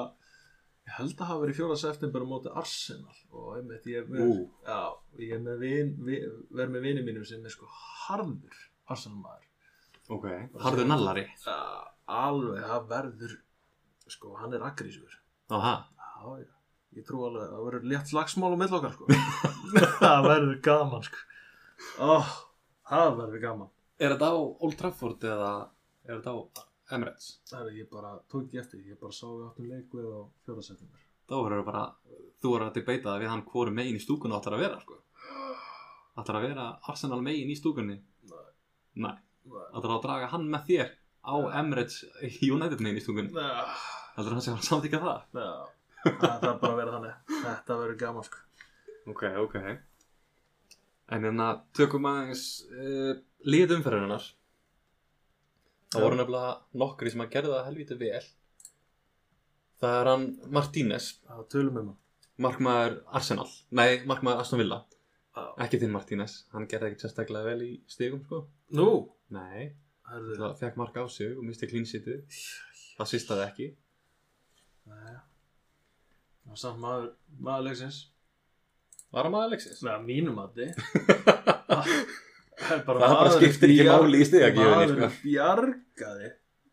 ég held að hafa verið fjórða september á móti Arsenal og einmitt ég er með
Ú.
já, ég er með vin, vi, verð með vinið mínum sem er sko harður Arsenal maður
ok, harður nallari
Já, alveg, það verður sko, hann er aggrísur
það var það,
Já, já. Ég trú alveg að það verður létt slagsmál á milli okkar, sko. það verður gaman, sko. Ó, það verður gaman.
er þetta á Old Trafford eða er þetta á Emirates
Það er ég bara, tók ekki eftir, ég bara sá við áttum leik við á fjóra september.
þá verður bara, þú verður að debeita það við hann hvori megin í stúkunni áttar að vera sko. áttar að vera Arsenal megin í stúkunni nei, áttar að draga hann með þér á Emirates United megin í stúkunni
Já,
heldur hann sem var að samtíka það
það þarf bara að vera þannig. Þetta verður gaman, sko.
Ok, ok. En hérna, tökum aðeins uh, liðumferðunar. Það
Já.
voru nefnilega nokkri sem að gerða það helvítið vel. Það er hann Martínez,
Það tölum um
markmaður Arsenal. Nei, markmaður Aston Villa.
hann
Ekki þinn Martínez, hann gerði ekkert sérstaklega vel í stigum, sko.
Nú,
Nei,
herðu
það fekk mark á sig og misti klínsitið. Það svistaði ekki.
Nei. Það var samt maður, maður leiksins
Var hann maður Alexis?
Nei, að mínu mati Það er bara,
Það bara
maðurinn
skiptir ekki
bjar-
máli í stigagjöfinni, sko.
Maðurinn bjargaði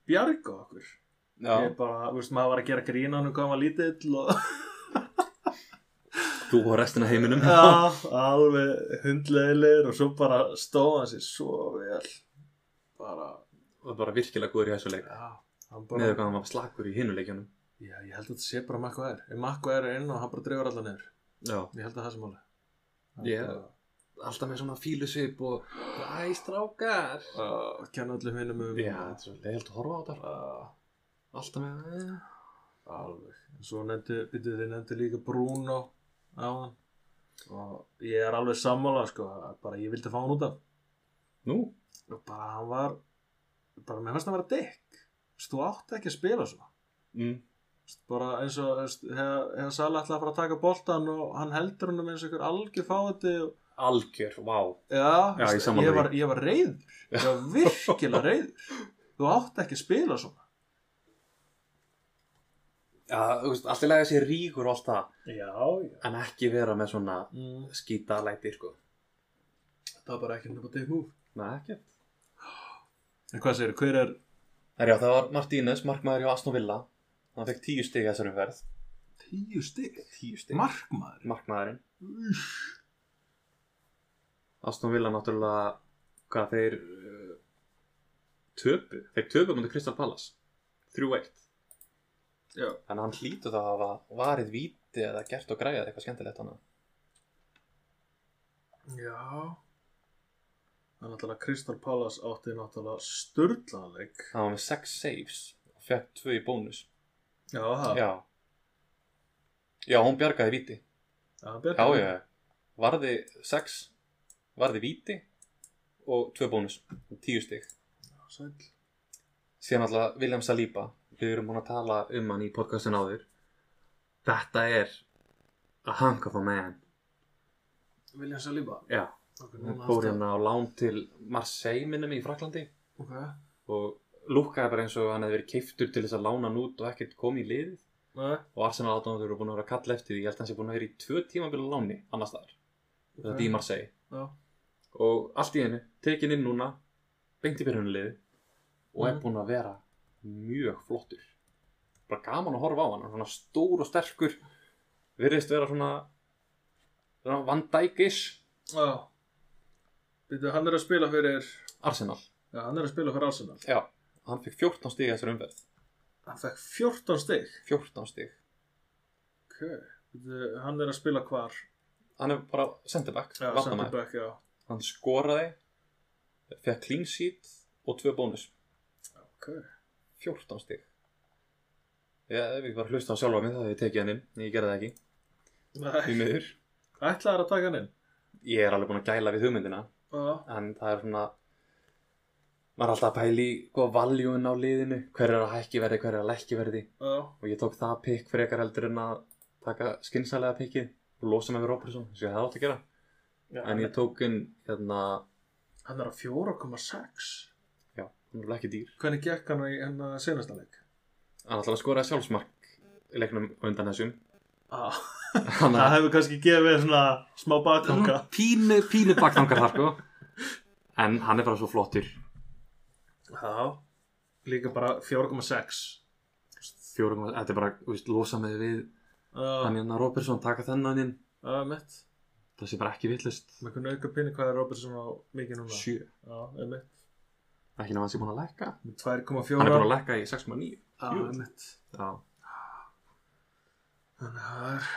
Bjarga okkur Ég
Já,
bara, þú veist, maður var að gera grín á hann hvað hann var lítill og
þú og restina heiminum.
Já, alveg hundleilir og svo bara stóð hann sér svo vel Bara,
Og bara virkilega góður í þessu leik.
já, hann
Með
bara
hvað hann var slakur í hinuleikjunum.
Já, ég held að þetta sé bara makku aðeir Ef makku aðeir er inn og hann bara dreifur allan niður
Já.
Ég held að það sem máli
Ég- alltaf með svona fílusvip og Æ, strákar
uh, Kenna öllum hinum um
Já, þetta er svo leiðilt að horfa á þetta
uh,
Alltaf með "Eh."
Alveg En Svo nefndu, byrjuðu þið nefndu líka Bruno á hann Og ég er alveg sammála sko að Bara ég vildi fá hann út af
Nú,
Og bara hann var Bara mér fannst hann vera dick Þú veist, Þú átti ekki að spila svona
mm.
Þú veist, bara eins og þú veist, hef- hefur Sala ætlaði að fara að taka boltan og hann heldur hann um eins og ykkur algjör fáti og
algjör, vá
Já,
Já, ég
veist,
sammála
ég,
því.
var, ég var reyður Ég var virkilega reyður Þú átt ekki að spila svona
Já, þú veist, allt í lagi að sé ríkur og allt það
Já, já
En ekki vera með svona
mm,
skítalæti, sko
Það var bara ekki hann upp að take move
Nei, ekki
En hvað segir, hver er
Herjá, það var Martínez, markmaður hjá Aston Villa Hann fekk tíu stig í þessari umferð
tíu stig?
Tíu stig?
Markmaður
Markmaðurinn
Úff.
Aston Villa náttúrulega Hvað þeir uh, Töpu, þeir töpu mútið Crystal Palace 3-1
Já.
Þannig að hann hlýtur þá að hafa varið víti eða gert og græjað eitthvað skemmtilegt hann
Já Það er náttúrulega Crystal Palace átti náttúrulega sturlanleik
Hann var með 6 saves og fekk 2 í bónus
Já, það
Já Já, hún bjargaði víti
Já,
Já, já, já. varði 6 varði víti og 2 bónus, 10 stig
Sæll
síðan alltaf William Saliba við erum búin að tala um hann í podcastin áður Þetta er a hunk of a man
Vilja sér lípa
Já,
Ok,
hann
núna
fór
aftur.
hérna á lán til Marseille minnum í Fraklandi
Ok,
og lúkkaði bara eins og hann hefði verið keiftur til þess að lána hann út og ekkert kom í liðið
Nei.
og Arsenal aðdóndur eru búin að vera að kalla eftir því ég held að hans er búin að vera í tvö tímabili á láni annars staðar, þetta er í Marseille
Já.
og allt í einu, tekin inn núna beint í byrjunlið og er
Mhm.
búin að vera mjög flottur bara gaman að horfa á hann hann er svona stór og sterkur virðist vera svona, svona vandækis
Já Býtu, hann er að spila fyrir
Arsenal,
Já, hann er að spila fyrir Arsenal
já, hann fekk 14 stig í þessari umferð,
Hann fekk 14 stygg
14 stig
Ok Býtu, Hann er að spila hvar
hann er bara centerback,
Já,
varnarmaður.
Sandberg, já
hann skoraði fekk clean sheet og tvö bónus
Ok
14 stig ég hef ekki bara hlusta á sjálfa mig það hefði ég tekið hann inn, en ég gerði það ekki því
Nei,
miður,
ætlaðar að taka hann inn
ég er alveg búin að gæla við hugmyndina
Já,
en það er svona maður er alltaf að pæli hvað valjúin á liðinu hver er að hækki verði, hver er að lækki verði
já
og ég tók það pikk frekar heldur en að taka skynsælega pikkið og losa mig við Robertson, þess að það átt að gera
Já,
en ég tók inn, hérna,
Hann er að 4,6
já, hann er ekki dýr
Hvernig gekk hann í hennar senasta leik?
hann ætlaði að skora sjálfsmark í leiknum á undan þessum
Já
hann
Ah. Það hefur kannski gefið svona smá bakkanga
pínu, pínu baktangar þar sko en hann er bara svo flottur Mhm.
Já Líka bara 4,6
fjórum, þetta er bara, þú veist, losa með við hann
Já,
hérna Robertson, taka þennan inn
já, mitt
það sé bara ekki villist
Með hvernig auka pinni hvað er Robertson á mikið núna?
sjö,
Já, einmitt
ekki nefn að hann sé búin að lækka
Með 2,4
hann er búin að lækka í 6.9
Já,
Jú.
einmitt
já,
Þannig að það er-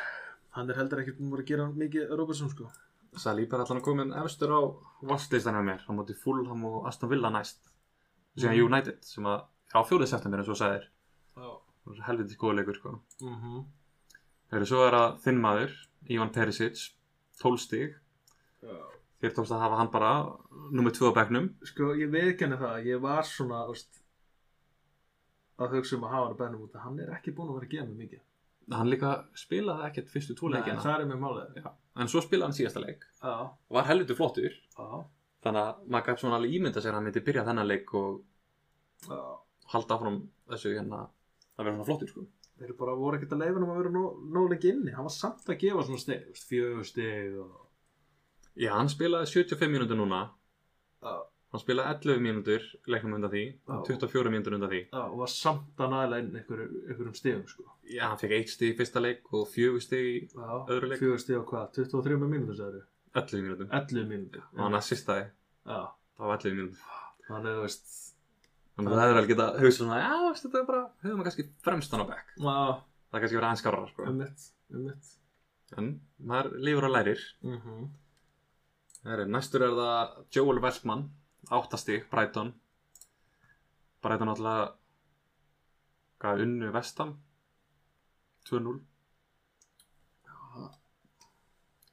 hann er heldur ekkert búin að gera mikið Robertson sko.
Salíb er allan að koma en efstur á valslistan hjá mér, hann móti Fulham og Aston Villa næst síðan
Mhm.
United sem að er á fjórið september eins og sagðir
Já.
Það er helviti góðleikur sko
Mm -hmm.
Þegar svo er að þinn maður, Ivan Perisic 12 stig
Já.
þér tókst að hafa hann bara nummer 2 á bekknum
Sko, ég veðkenni það, að ég var svona, veist, að hugsa um að hafa hann að bennum út, að hann er ekki búinn að vera að gefa mig mikið.
hann líka spilaði ekkert fyrstu tvo
Nei,
leikina
það er mér málið.
Já, en svo spilaði hann síðasta leik
Já,
var helviti flottur
já,
þannig að maður gæti svona alveg ímynda sér að hann myndi byrja þennan leik og
já.
halda áfram þessu hérna að vera svona flottur sko
Þeir bara voru ekkert að leifa hann að vera nóg- nóg lengi inni. Hann var samt að gefa svona steg, veist, fjögur steg og...
Já, hann spilaði 75 mínútur núna
Já.
hann spilaði 11 mínútur leiknum undan því
Já.
24 mínútur undan því
Já, og var samt að næla inn einhver, einhverjum stegum, sko.
Já, hann fekk 1 stig í fyrsta leik og 4 stig í
Já,
Öðru leik.
fjögur steg og hvað, 23 mínútur, sagður
11 mínútum
11 mínútur.
og hann assistaði
Já,
á 11 mínútum
þannig, þú veist,
þannig að það er alveg geta hugsa svona já, veist, þetta er bara, höfum við kannski fremst hann á bekk
já,
það er kannski verið aðeins skárra sko.
ummitt, ummitt.
en maður lifur og lærir
Mhm.
Heri, næstur er það Joel Veltman áttastig, Brighton Brighton alltaf gaf unnu vestam 2-0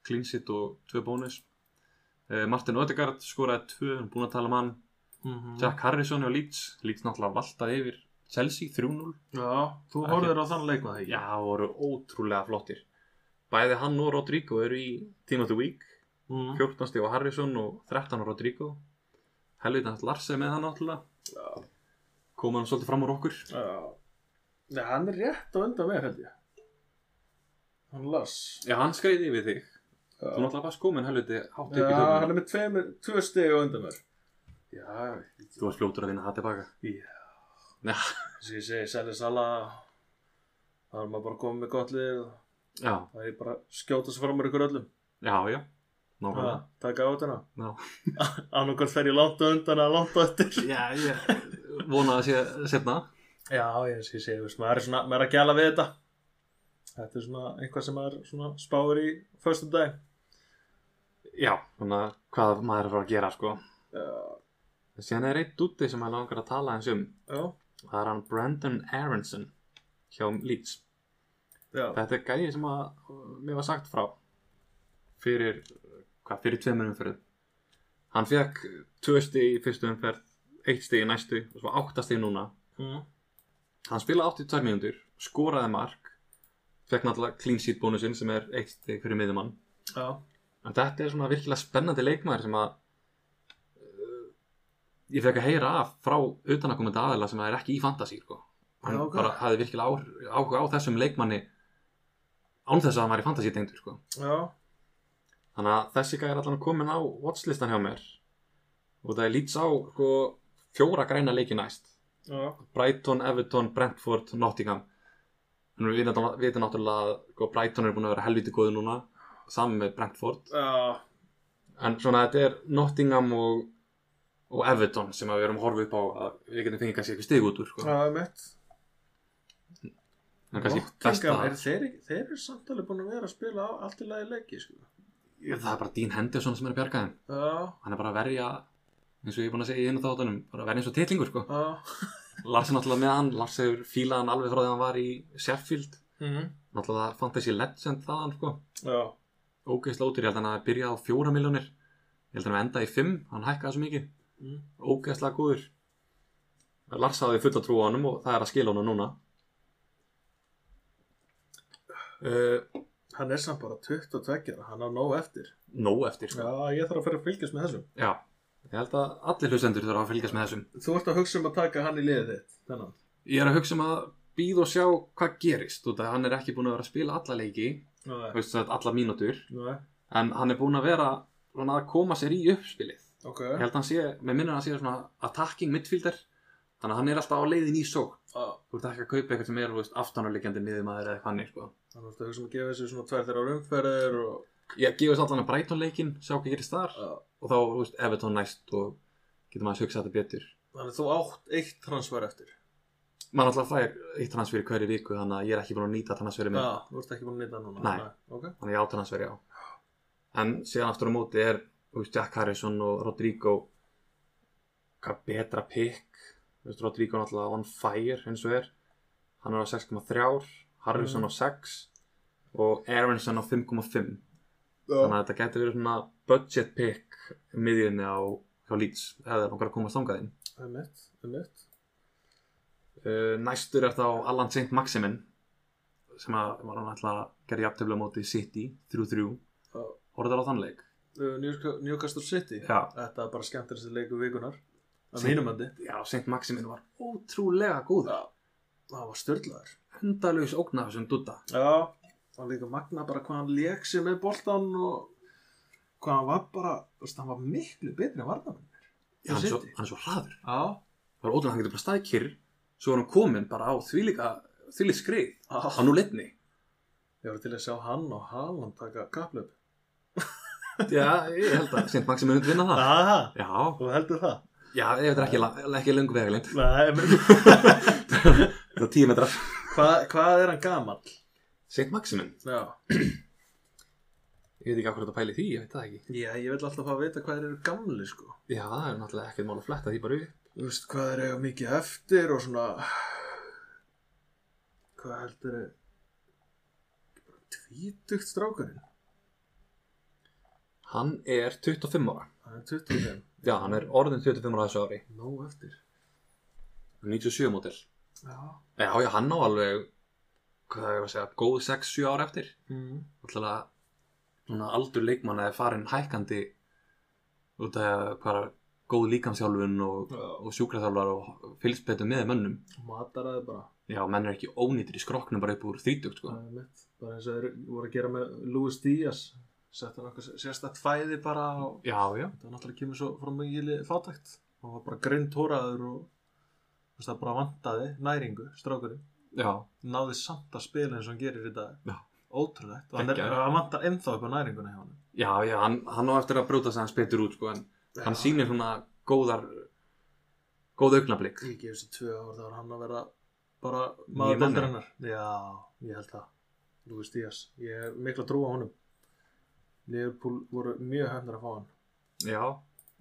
clean sheet og 2 bónus Eh, Martin Odegaard skoraði 2, hann er búin að tala um hann
Mhm.
Jack Harrison hjá Leeds Leeds náttúrulega valtaði yfir Chelsea 3-0
Já, þú
Ekki-
horfður á þann leik með það
Já, voru ótrúlega flottir Bæði hann og Rodrigo eru í Team of the Week
ekki?
14 stíf á Harrison og 13 á Rodrigo Helvita hans Larsen með hann náttúrulega
Já.
kom hann svolítið fram úr okkur
Já. Nei, hann er rétt á undan mér held ég. Hann las.
Já, hann skreiði yfir þig
Já,
Þú náttúrulega varst komin helviti hátt upp í
hann
tökum
er með tveimur, tvö stegi á undan mér. Já,
Þú varst fljótur að vinna það tilbaka
já.
Já.
Þess að ég segi, Sæli Sala, það er maður bara komið með gott lið og
Já,
það er bara að skjóta sér fram úr ykkur öllum.
já, já
Já,
Nákvæmlega
taka á þetta.
Já.
Annarkvæmt fer ég langt á undan að langt á eftir.
Já, ég vona að sé setna
Já, ég sé, sé, þú veist, maður er svona, maður er að gæla við þetta. Þetta er svona eitthvað sem maður svona spáir í föstum dag.
Já, svona hvað maður er að fara að gera sko
Já.
Sér er eitt úti sem maður langar að tala eins um
Já.
Það er hann Brandon Aronson hjá Leeds
Já.
Þetta er gæði sem að uh, mér var sagt frá fyrir, uh, hvað, fyrir tveimur umferð Hann fekk tvö stig í fyrstu umferð, eitt stig í næstu og svo átta stig núna
Mm.
Hann spilaði 82 mínútur, skoraði mark fekk náttúrulega clean sheet bónusinn sem er eitt stig fyrir miðjumann
Já.
En þetta er svona virkilega spennandi leikmaður sem að uh, ég fekk að heyra af frá utanakomandi aðila sem að er ekki í fantasy sko. hann
Já, ok.
bara hafði virkilega áhr- áhuga á þessum leikmanni án þess að hann var í fantasy tengdur sko.
Já.
þannig að þessi gæði er allan komin á watchlistan hjá mér og það er lýts á sko, fjóra græna leiki næst
Já.
Brighton, Everton, Brentford, Nottingham en við vitum- vitum náttúrulega að sko, Brighton er búin að vera helviti góði núna saman með Brentford
Já.
en svona þetta er Nottingham og, og Everton sem að við erum að horfa upp á að við getum fengið kannski eitthvað stig út úr sko.
Það er mitt.
en kannski besta
Er þeir, ekki- þeir eru samt alveg búin að vera að spila á allt í lagi leiki, sko.
það er bara Dean Henderson sem er að bjarga þeim
Já.
hann er bara að verja eins og ég er búin að segja í einu þáttunum bara að verja eins og titlingur sko.
Já.
Lars er náttúrulega með hann, Lars hefur fílað hann alveg frá því hann var í Sheffield
Mm.
náttúrulega fantasy legend þaðan sko.
Já.
ógeðsla útir, ég held hann að byrja á fjóra miljónir ég held hann að enda í fimm, hann hækkaði svo mikið
Mm.
ógeðslega góður Lars hafði fulla trú á honum og það er að skila honum núna uh,
Hann er samt bara 22, ára, hann á nóg eftir.
Nó eftir sko.
Já, ég þarf að fyrir að fylgjast með þessum.
Já, ég held að allir hlustendur þurfa að fylgjast með þessum
Þú ert að hugsa um að taka hann í liðið þitt, þennan.
Ég er að hugsa um að býða og sjá hvað gerist út að hann er ekki búin að vera að spila alla leiki þú
Nei.
veist, sem sagt, alla mínútur
Nei.
en hann er búin að vera svona, að koma sér í uppspilið
Ok.
Ég held að hann sé, með minnur hann sé svona attacking midfielder þannig að hann er alltaf á leiðin í sók
Já.
Þú ert ekki að kaupa eitthvað sem er þú veist, aftanulegjandi miðumæður eða hvernig sko.
Þannig að það er sem að gefa þessu svona tvær þeirra umferðir og...
ég gefist allan að Brighton leikin sjá hvað gerist þar
Já.
og þá þú veist, Everton næst og getur maður að hugsa þetta betur
Þannig að þú átt eitt transfer eftir.
maður alltaf fær eitt transfer í hverju viku þannig að ég er ekki búin að nýta transferið minn
Já, þú ert ekki búin að nýta hann núna.
Nei.
Ok.
þannig að ég á transferi á en síðan aftur á móti er þú veist, Jack Harrison og Rodrigo hvað betra pick Þú veist, Rodrigo er náttúrulega on fire eins og er hann er á 6,3 Harrison á
Mhm.
6 og Aronson á 5,5 þannig að þetta getur verið svona budget pick miðjunni á hjá Leeds eða langar að komast þangað inn
Það er mitt, það er mitt.
uh, næstur er þá Allan Saint Maximin sem að var hann alltaf að gera jafntöfla móti City 3-3
Já.
horfðar á þann leik
Uh, Newca- Newcastle City.
já,
Þetta er bara skemmtir þessi leiku vikunar. Að
Sí.
mínum andi.
já Saint Maximin var ótrúlega góð
Já. Það var störlaður.
hundalaus ógnar sem dutta
Já. Og líka magna bara hvað hann leik sig með boltan og hvað hann var bara, þú veist, hann var miklu betri en varnarinn. Já,
hann er svo,
City.
hann er svo hraður
Já.
það var ótrúlega hann getur bara staðið kyrr svo var hann komin bara á þvílíka þvílík skrið á
Já.
nú litni
Ah, Ég var til að sjá hann og Haaland taka kaplöp.
já, ég held að Saint Maximin myndi vinna það
Aha.
já,
Þú heldur það?
já, ég veit ekki, la- ekki lengur vegalengd
Nei, menn.
það er tíu metrar
Hvað, hvað er hann gamall?
Saint Maximin
Já.
Ég veit ekki af hverju þetta pæli því, ég veit það ekki.
Já, ég vil alltaf að vita hvað þeir eru gamli, sko.
Já, það er náttúrulega ekkert mál að fletta því bara upp.
Þú veist, hvað þeir eiga mikið eftir og svona... Hvað heldur þeir... Tvítugt strákurinn?
Hann er 25 ára.
Hann er 25.
Já, hann er orðin 25 ára þessu ári.
Nó eftir.
97 mótil.
Já.
Já, já, hann á alveg, hvað er að segja, góð 6-7 ára eftir.
Mm.
Náttúrulega, svona aldur leikmanna er farin hækkandi út af hvað er góð líkamsjálfun og,
Já.
og sjúkraþjálfar og fylgst betur með mönnum.
Mataraði bara.
Já, menn er ekki ónýttir í skroknum bara upp úr 30, sko.
Það er mitt. Bara eins og þeir voru að gera með Louis Díaz. Sett hann okkur sérstakt fæði bara og...
Já, já.
Það náttúrulega kemur svo frá mikið fátækt. Hann var bara grindtóraður og... Þú veist, það bara vantaði næringu, strákurinn.
Já,
náði samt að spila eins og hann gerir í dag
Já.
ótrúlegt og hann, er,
Geggjaður.
hann vantar ennþá upp á næringuna hjá hann
já, já, hann, hann á eftir að brjóta sig hans betur út, sko, en hann sýnir svona góðar góð augnablík
ég gef þessi tvö ár þá er hann að vera bara
Nýi
maður
manni.
bættur hennar já, ég held það Lúi Stías, ég er mikla trú á honum Liverpool voru mjög hefnir að fá hann
já,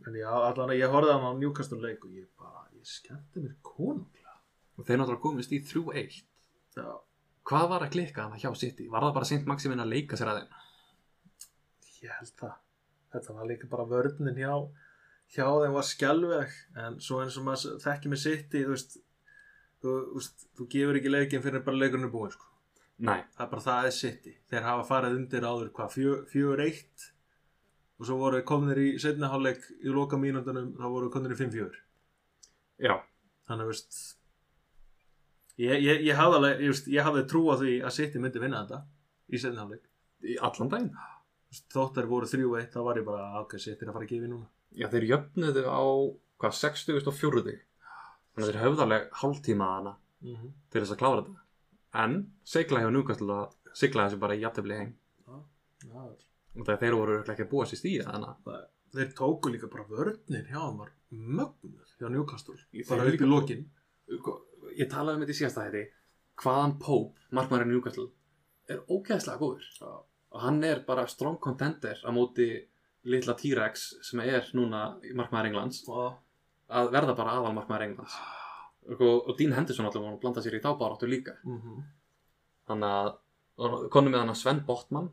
en já, allan að ég horfði á hann á Newcastle leik og ég bara, ég skemmti mér konunglega
og þeir náttúrulega komist í 3-1
já,
hvað var að klikka hann hjá City? Var það bara Sint Maximin að leika sér að þeim?
ég held það þetta var líka bara vörninn hjá hjá þeim var skjálfeg en svo eins og maður þekki með sitt þú veist þú, þú, veist, þú gefur ekki leikinn fyrir bara leikurinn er búinn sko.
Nei,
það er bara það er sitt þeir hafa farið undir áður hvað fjö- fjögur eitt og svo voru þeir komnir í setna hálfleik í loka mínúndunum þá voru þeir komnir í 5-4
já,
þannig að veist ég, ég, ég hafði alveg ég, veist, ég hafði trú á því að sitt myndi vinna þetta í setna hálfleik
í allan daginn
þóttar voru 3-1 þá var ég bara "Ah, ok, sitt er að fara að gefa í núna
Já, þeir jöfnuðu á hvað, 60 og 40 þannig að þeir höfðarleg hálftíma að hana
mm
til þess að klára þetta en segla hjá núkastil að segla þessu bara í jafntefli heim og þegar þeir voru örugglega ekki að búa sér stíða þannig að
Þeir tóku líka bara vörnir hjá hann var mögnuð hjá Newcastle
Ég
bara
þeir
upp
líka-
í lokin
ég talaði um þetta í síðasta hætti hvaðan Pope, markmæri Newcastle er ógeðslega góður
Já.
og hann er bara strong contender á móti litla T-Rex sem er núna markmæri Englands að verða bara aðal markmæri Englands og, og Dean Henderson alltaf var að blanda sér í þá baráttu líka
mm -hmm.
þannig að konum við hann að Sven Botman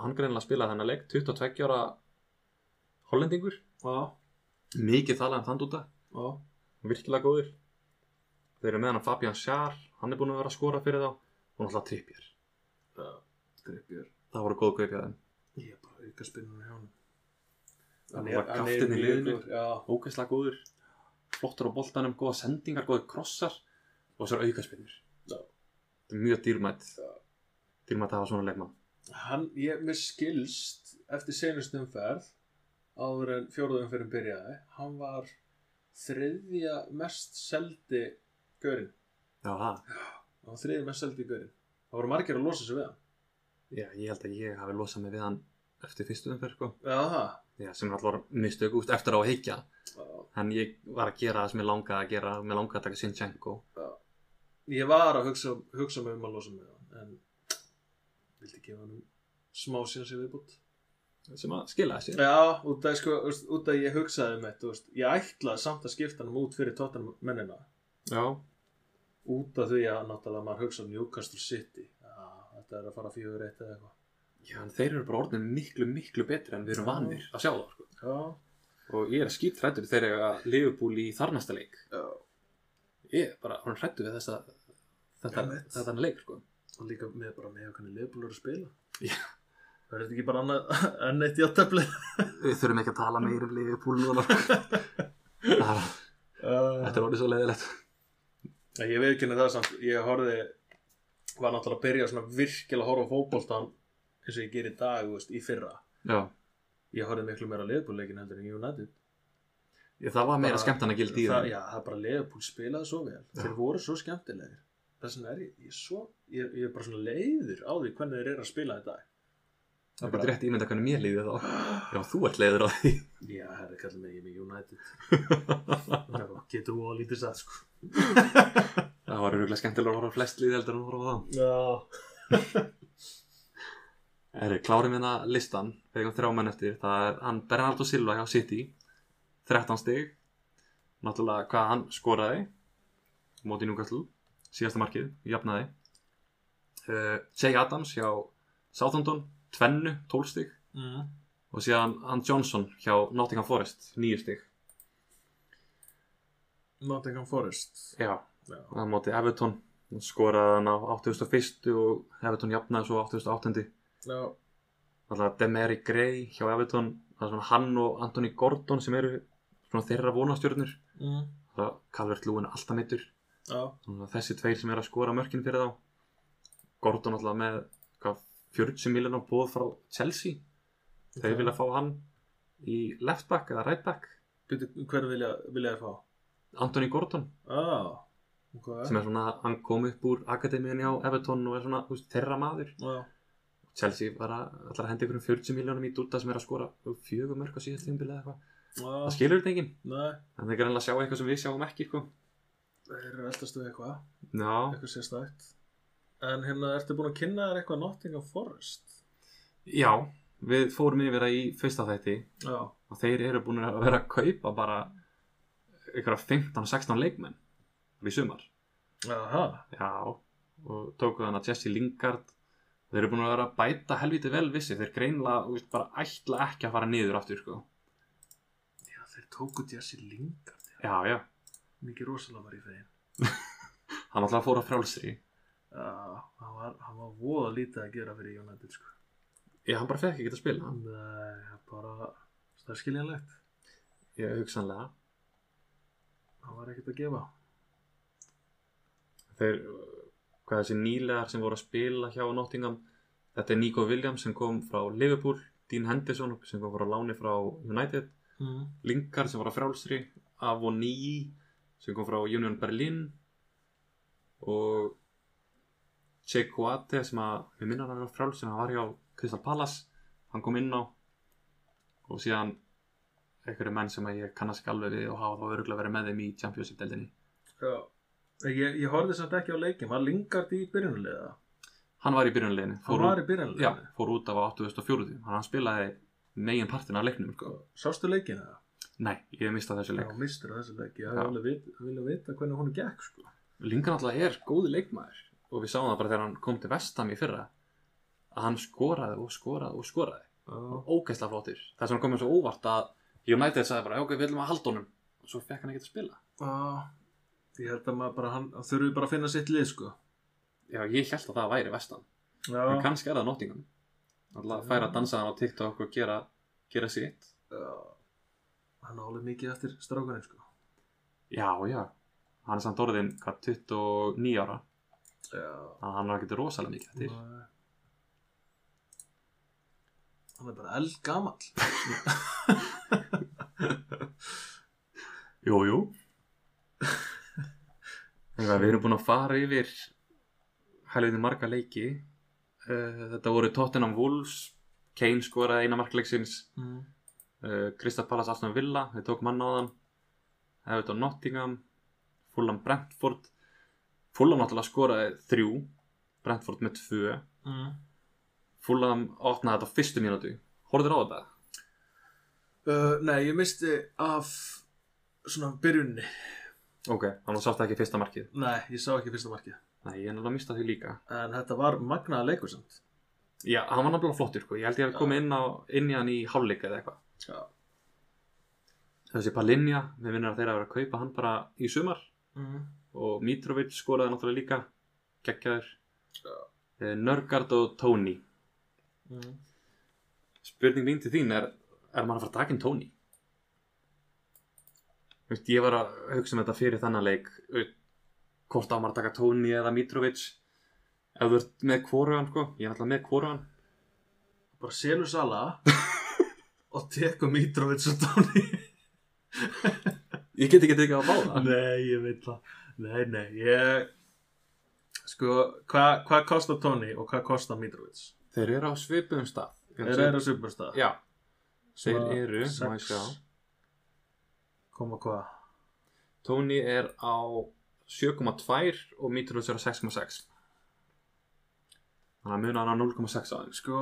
hann greinlega spilaði þennan leik 22 ára hollendingur mikið talað um þann dúta virkilega góður þeir eru með hann að Fabian Schaar hann er búin að vera að skora fyrir þá og náttúrulega trippjör
Greipjör
það voru góð kaupið þeim
Ég er bara auka spinnur hjá hann
Hann var kaftinn í
mjög
liðinu.
góður, Já,
ógeðslega góður flottur á boltanum, góða sendingar, góður krossar og svo er aukaspinnur
Já.
þetta er mjög dýrmætt
Já.
dýrmætt að hafa svona leikmann
hann, ég, mér skilst eftir senustum ferð áður en fjóruðum fyrir byrjaði hann var þriðja mest seldi görinn
já, það.
hann var þriðja mest seldi görinn það voru margir að losa sig við hann
já, ég held að ég hafi losað mig við hann eftir fyrstu umferð sko.
Já, það
já, sem er alltaf mistök út eftir á að higgja
Já.
en ég var að gera það sem ég langaði að gera mér langaði að taka Sinchenko
Ég var að hugsa, hugsa mig um að losa með hann en vildi gefa hann smá síðan sér viðbútt
sem að skila þessi
Já, út að, sko, þú veist, út að ég hugsaði um þetta þú veist, ég ætlaði samt að skipta hann út fyrir tóttan mennina
já,
út af því að náttúrulega maður hugsa um Newcastle City Já, þetta er að fara fjögur eitt eða eitthvað
Já, en þeir eru bara orðin miklu, miklu betri en við erum
Já.
vanir að sjá það, sko.
Já,
Og ég er skýrt hrættur þegar ég að Liverpool í þarnasta leik.
já.
Ég er bara hún hrættur við þessa, þetta,
Einmitt.
þetta leik, sko.
og líka með bara með hvernig liðbúlur að spila verður þetta ekki bara annað enn eitt játtabli
Við þurfum ekki að tala meir um Liverpool núna, sko. þetta
uh,
er orðið svo leiðilegt.
ég veit ekki henni það samt ég horfði var náttúrulega að byrja svona virkilega að horfa á fótboltan eins og ég ger í dag, þú veist, í fyrra
Já,
ég horfði miklu meira liðbúlleikin heldur en United
ég, það var meira
Bara-
skemmt hann að gildi í
það,
það.
já, það er bara liðbúl spilaði svo vel
Já.
þeir voru svo skemmtilegir þess vegna er ég, ég er svo ég, ég er bara svona leiður á því hvernig þeir eru að spila í dag
Það er bara rétt ímynda hvernig mér líði þá. Já, þú ert leiður á því.
Já, herri, kallar mig, ég er með United Já, Getur þú að lítið satt, sko
það var öruglega skemmtilega að horfa á flest líð heldur en að horfa á það.
Já
Erri, klárum hérna listan, við eigum þrjá menn eftir, það er hann Bernardo Silva hjá City, 13 stig, náttúrulega hvað hann skoraði, á móti núkastlu, síðasta markið, jafnaði. Uh, Jay Adams hjá Southampton, tvennu, 12 stig
mm.
og síðan hann Johnson hjá Nottingham Forest, 9 stig.
Nottingham Forest
Já.
Já.
Það er móti Everton, hann skoraði hann á 81. og Everton jafnaði svo á 88.
Já,
Þannig að Demeri Gray hjá Everton, það er svona hann og Anthony Gordon sem eru svona þeirra vonastjörnur.
mm.
Það er Calvert Lúin alltaf meittur.
já,
Þannig að þessi tveir sem eru að skora mörkin fyrir þá. Gordon alltaf með hvað, 40 miljonar bóð frá Chelsea. Þeir
Ok.
vilja fá hann í left back eða right back.
Býtu, hvernig vilja, vilja þér fá?
Anthony Gordon
Já, ok
sem er svona, hann kom upp úr akademíunni á Everton og er svona þú veist, þeirra maður.
Já,
Chelsea var að, ætlar að henda ykkur um 40 miljónum í dúta sem er að skora fjögur mörk á síðast tímbil eða eitthvað.
já,
Það skilur þetta enginn.
nei
En það er greinlega að sjá eitthvað sem við sjáum ekki, sko.
Þeir eru eldast við eitthvað,
Já.
eitthvað sérstætt En hérna, ertu búin að kynna þér eitthvað Nottingham Forest?
Já, við fórum yfir það í fyrsta þætti
Já,
og þeir eru búin að vera að kaupa bara ykkur 15-16 leikmenn í sumar.
aha,
Já. Og tókuð hann að Jesse Lingard. Þeir eru búin að vera að bæta helviti vel vissi. Þeir greinlega, þú veist, bara ætla ekki að fara niður aftur, sko.
já, þeir tóku Jesse Lingard
Já, já.
Mikið rosalega var í þeim
Hann alltaf fór á frálsri.
Já, hann var, hann var voða lítið að gera fyrir United, sko
Já, hann bara fekk ekki að spila.
Nei, bara, það er skiljanlegt
Já, hugsanlega.
Hann var ekkert að gefa
þeir, hvað þessi nýlegar sem voru að spila hjá Nottingham þetta er Nico Williams sem kom frá Liverpool Dean Henderson sem kom frá Láni frá United
mm.
Lingard sem var á frálsri Avonii sem kom frá Union Berlin og Che Coate sem að, við minna hann var frálsri sem hann var hjá Crystal Palace hann kom inn á og síðan einhverju menn sem að ég kannast ekki alveg við og hafa þá öruglega verið með þeim í Championship-deldinni
Já, ég, ég horfði samt ekki á leikin, var Lingard í byrjunulega?
hann var í byrjunleginu
Hann var í byrjunulega?
Já, fór út af á 84. Þannig að hann spilaði megin partin af leiknum. Sko.
Sástu leikin það?
Nei, ég hef mistað þessu leik.
Já, mistur þessi leik, ég
Já.
hefði alveg vit, vilja vita hvernig hún gekk, sko
Lingan alltaf er góði leikmaður og við sáum það bara þegar hann kom til vestam í fyrra að hann skoraði og skoraði og skoraði.
Já,
Og ógeðslega flottir. Það sem hann komið svo óvart að United sagði bara, "Já, ok, við viljum að halda honum. Og svo fekk hann ekkert að spila.
ég held að maður bara, hann hann þurfi bara að finna sitt lið, sko
Já, ég held að það væri vestam. En
Já,
kannski er það Nottingham. Alltaf færa að dansa hann á TikTok og gera, gera sitt.
Já. hann álið mikið eftir strákurinn, sko
Já, já. Hann er samt orðin, hvað, 29 ára.
Já,
Þannig að hann er ekkert rosalega mikið eftir.
Nei. Hann er bara eldgamall
Jú, jú Þegar við erum búin að fara yfir helviti marga leiki Eh, Þetta voru Tottenham Wolves Kane skoraði eina markleiksins
mm.
eh, Crystal Palace Aston Villa við tók mann á þann Everton Nottingham Fulham Brentford Fulham náttúrulega skoraði þrjú Brentford með tvö
Mm.
Fulham opnaði þetta á fyrstu mínútu Horður á þetta?
Uh, nei, ég misti af svona byrjunni.
Ok, þannig að sátt ekki fyrsta markið
Nei, ég sá ekki fyrsta markið.
Nei, ég er náttúrulega að mista því líka
En þetta var magnaða leikur samt.
Já, hann var náttúrulega flottur, sko. ég held ég að koma
Já.
inn, á, inn í hann í hálfleika eða eitthvað.
Já.
Þessi Palinja, við vinnum að þeirra að vera að kaupa hann bara í sumar
Mm.
og Mitrovic skoraði náttúrulega líka, geggjaður.
Já.
Eh, Nörgard og Tóni.
Mm.
Spurning mín til þín er, er maður að fara að taka inn Tóni? Þú veist, ég var að hugsa um þetta fyrir þannan leik, þú veist, hvort á maður að taka Tóni eða Mitrovic, ef þú ert með kvorugan, sko, ég er náttúrulega með kvorugan.
Bara selur sala og tekur Mitrovic og Tóni.
Ég get ekki tekið á báða.
nei, ég veit það. Nei, nei, ég... Sko, hvað hva kostar Tóni og hvað kostar Mitrovic?
Þeir eru á svipum stað Ég
Þeir
ætla að segja-
eru að superstað.
Já, þeir eru, má ég sjá
Koma hvað?
Tony er á 7,2 og Mitrovic er á 6,6 Þannig að muna hann á 0,6 aðeins
Sko,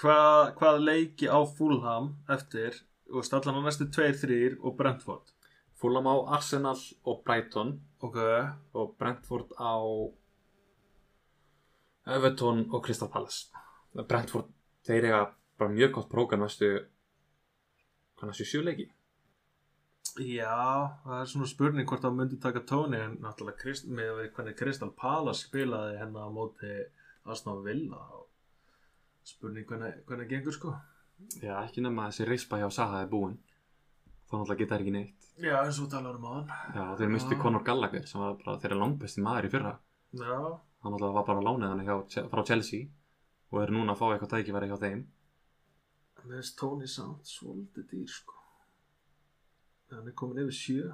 hvað, hvað leiki á Fulham eftir og stallan á næstu 2-3 og Brentford?
Fulham á Arsenal og Brighton
Ok,
og Brentford á Everton og Crystal Palace Brentford, þeir eiga bara mjög gott prógram næstu hvað næstu sjöleiki
já, það er svona spurning hvort það myndi taka tóni en náttúrulega Krist, með að við hvernig Crystal Palace spilaði hennar á móti Asna Villa og spurning hvernig, hvernig gengur sko.
Já, ekki nema að þessi reispa hjá Saha er búin þá náttúrulega geta þær ekki neitt
Já, eins og talar um hann.
Já, þeir misti
Já.
Conor Gallagher sem var bara þeirra langbesti maður í fyrra
Já,
hann alltaf var bara lánið hann hjá, frá Chelsea og er núna að fá eitthvað tækifæri hjá þeim
með þess tóni samt svolítið dýr sko. Hann er komin yfir sjö.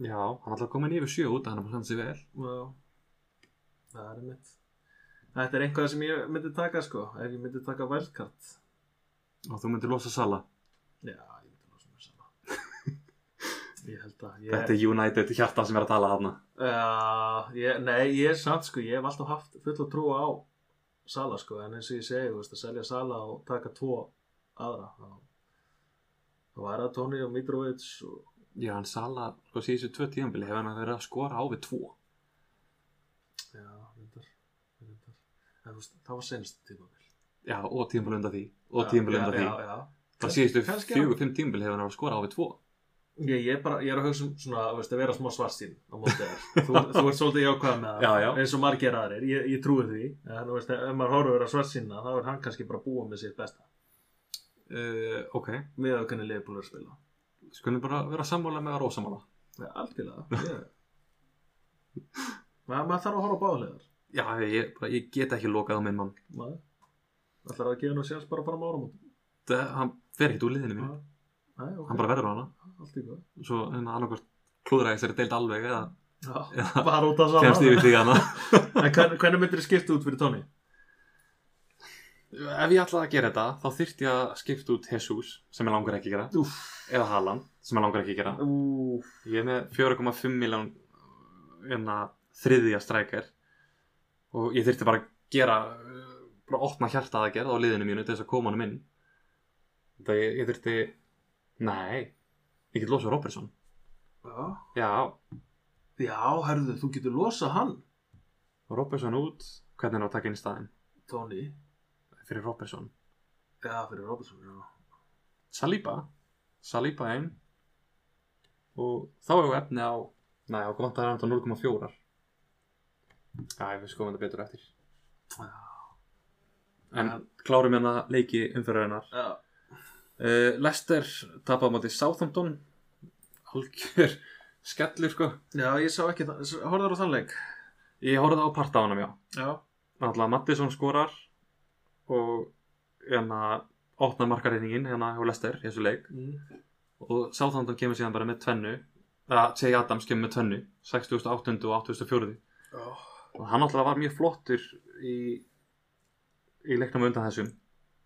Já, hann alltaf komin yfir sjö út að hann er bara hann sér vel
Já, það er mitt. Þetta er eitthvað sem ég myndi taka sko, ef ég myndi taka wildcard.
og þú myndir losa Sala
Já, ég myndi ná sem er sama. ég held að,
Þetta
ég,
er United hjarta sem er að tala þarna
uh, ég, nei, ég er samt sko, ég hef alltaf haft fulla trú á Sala sko, en eins og ég segi, þú veist, að selja Sala og taka tvo aðra. þá- Þá var það Tony og Mitrovic og,
Já, hann Sala, sko síðustu tvö tíðanbili hefur hann verið að skora á við tvo
já, reyndar, reyndar. En þú veist, það var senast tímabil.
Já, og tíðanbili undan því og tíðanbili undan því
Já, já, já.
Það síðustu
Kannski-
fjögur, fimm tíðanbili hefur hann verið að skora á við tvo
Ég, ég, er bara, ég er að hugsa um svona, þú veist, að vera smá svarsýn á móti þér. Þú, þú ert svolítið jákvæð með það,
Já, já.
eins og margir aðrir, ég, ég trúi því. En þú veist, ef maður horfur að svarsýna, þá er hann kannski bara að búa með sitt besta.
uh, Ok,
Með að kunni liðbúl að spila.
skulum bara vera sammála með að rósamála
Ja, algjörlega. Ég... Ma, maður þarf að horfa á báðlegar.
Já, ég, bara, ég get ekki lokað á minn mann
Maður. Það þarf að gefa nú sjans bara að fara með áramót.
Það, hann fer ekkert úr liðinu mínu
Nei, ok.
Mm. hann bara verður á hana
Allt í góð.
svo hérna annarkvort klúðra þessari deild alveg eða
Já,
Já.
bara út af
kemst
saman.
yfir því hana
En hvern- hvernig myndir þið skipta út fyrir tóni?
ef ég ætlaði að gera þetta þá þyrfti ég að skipta út Jesus sem ég langar ekki að gera
Úf.
eða Haaland sem ég langar ekki að gera
Úf.
ég er með 4,5 miljón hérna þriðja strækir og ég þyrfti bara að gera uh, bara opna hjartað að gera á liðinu mínu til þess að koma hann inn þetta ég, ég þyrfti nei, ég get losað Robertson
Já.
já,
Já, herðu, þú getur losað hann,
Robertson út hvernig er að taka inn í staðinn
Tóni.
fyrir Robertson
Já, fyrir Robertson, já.
Saliba Saliba einn og þá hefur efni á næ, þá kom vantar hann á 0,4 Já, við skoðum þetta betur eftir en
Já.
klárum hérna leiki umfyrir
Já,
uh, Lester tapaði á móti Southampton algjör skellur sko
já ég sá ekki það. Horðar á þann leik?
ég horfði á part á hann já
Já.
Alla Mattisson skorar og hérna opnar markarreyningin hérna hjá Lester í þessu leik
Mm.
og Southampton kemur síðan bara með tvennu eða Jay Adams kemur með tvennu 6800 og 8004
Já.
og hann alltaf var mjög flottur í, í leiknum á undan þessum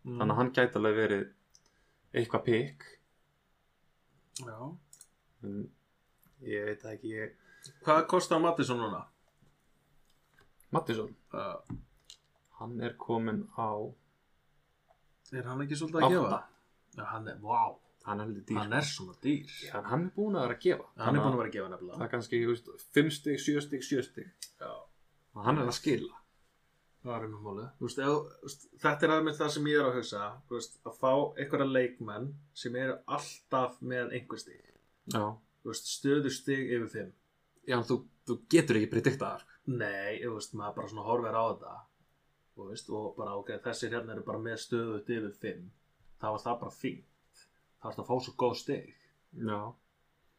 Mm.
þannig að hann gæti alveg verið eitthvað pikk
Já.
en ég veit það ekki ég...
Hvað kostar Mattisson núna?
Mattisson,
Uh,
hann er komin á
er hann ekki svolítið að
8
gefa? Já, hann er, vá,
hann er heldur dýr
hann er svona dýr.
Já, en hann er búin að vera að gefa
Hann er búin að vera að gefa nefnilega.
það er kannski 5 stig, 7 stig, 7 stig
Já.
og hann er að skila
Það er mjög málið. Þú veist, ef, þú veist, þetta er aðeins það sem ég er að hugsa, þú veist, að fá einhverja leikmenn sem eru alltaf með einhver stig,
Já,
þú veist, stöðu stig yfir þeim.
já þú, þú getur ekki sko. prediktaðar
Nei, þú veist, maður bara svona horfir á þetta, þú veist, og bara, ok, þessir hérna eru bara með stöðu yfir þeim, þá er það bara fínt. Það er það að fá svo góð stig.
Já,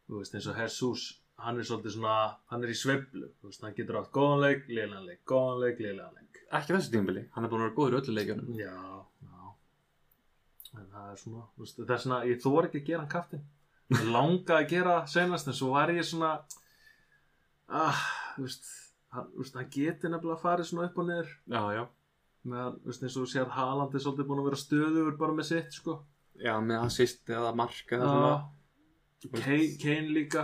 þú veist, eins og Jesus, hann er svolítið svona, hann er í sveiflu, þú veist, hann getur átt góðan leik, liðlegan leik, góðan leik, liðlegan leik.
ekki þessu tímbili, hann er búin að vera góður í öllu leikjunum
Já, já. En það er svona, þú veist, það er svona, ég þóra ekki að gera hann kaftin. Ég langaði að gera það senast, en svo var ég svona, ah, þú veist, hann, þú veist, hann geti nefnilega farið svona upp og niður,
Já, já,
meðan, þú veist, eins og þú sér Haaland er svolítið búin að vera stöðugur bara með sitt, sko.
já, með hans sýst eða mark eða svona
Já, Kane, Kane líka.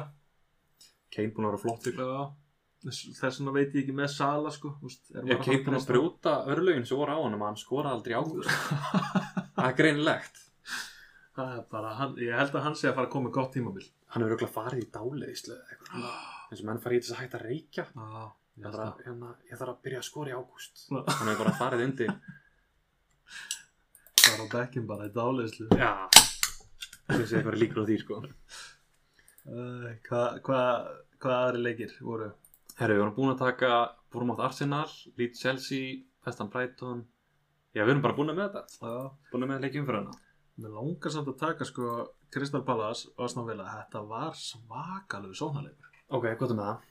Kane búin að vera flottur
Já, þess þess vegna veit ég ekki með Sala sko úst, er
Er Kane búin að brjóta örlögin sem voru á honum að hann skora aldrei águr Það er greinilegt
Það er bara, hann, ég held að hann sé að fara að koma með gott tímabil
Hann hefur auðvitað farið í dáleiðislu eða eitthvað svona. eins og menn farið í þess að hætta að reykja
Já, ég
Ég
held
þarf
að
að, hérna, ég þarf að byrja að skora í ágúst
Já.
Hann hefur bara farið undir
það er á bekkin bara í dálislu
Já Þessi eitthvað líkur á því sko
Hvað hva, hva hvað aðri leikir voru?
Herru, við vorum búin að taka Bormátt Arsenal, Leeds Chelsea, Vestan Brighton Já, við erum bara búin með þetta
Já,
Búin með leikjum fyrir hana
mér langar samt að taka sko Crystal Palace og Asnavilla Þetta var svakalegu sónalegur
Ok, gott með það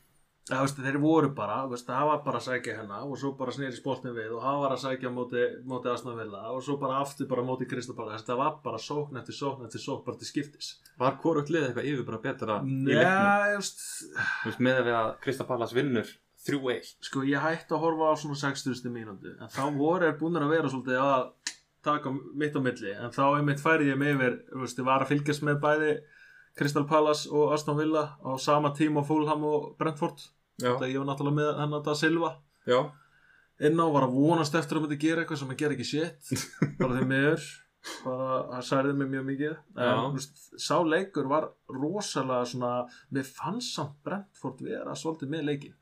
Já, veist, þeir voru bara, veist, það var bara að sækja hennar og svo bara snýri spoltin við og það var að sækja á móti, móti Asnavilla og svo bara aftur bara á móti Crystal Palace þetta var bara sókn eftir sókn eftir sókn bara til skiptis
Var hvort liðið eitthvað yfir bara betra í leiknum?
Nei, veist,
Þú veist, með að við að Krista Pallas vinnur 3-1
sko ég hætti að horfa á svona 60. mínútu en þá voru er búin að vera svolítið að taka mitt á milli en þá einmitt færði ég mig yfir þú veist, ég var að fylgjast með bæði Crystal Palace og Aston Villa á sama tíma Fulham og Brentford
Já,
þetta ég var náttúrulega með hann að Silva
já
inn á var að vonast eftir að myndi gera eitthvað sem að gera ekki shit bara því miður bara það særði mig mjög mikið
Já.
en, þú veist, sá leikur var rosalega svona mér fannst samt Brentford vera svolítið með leikin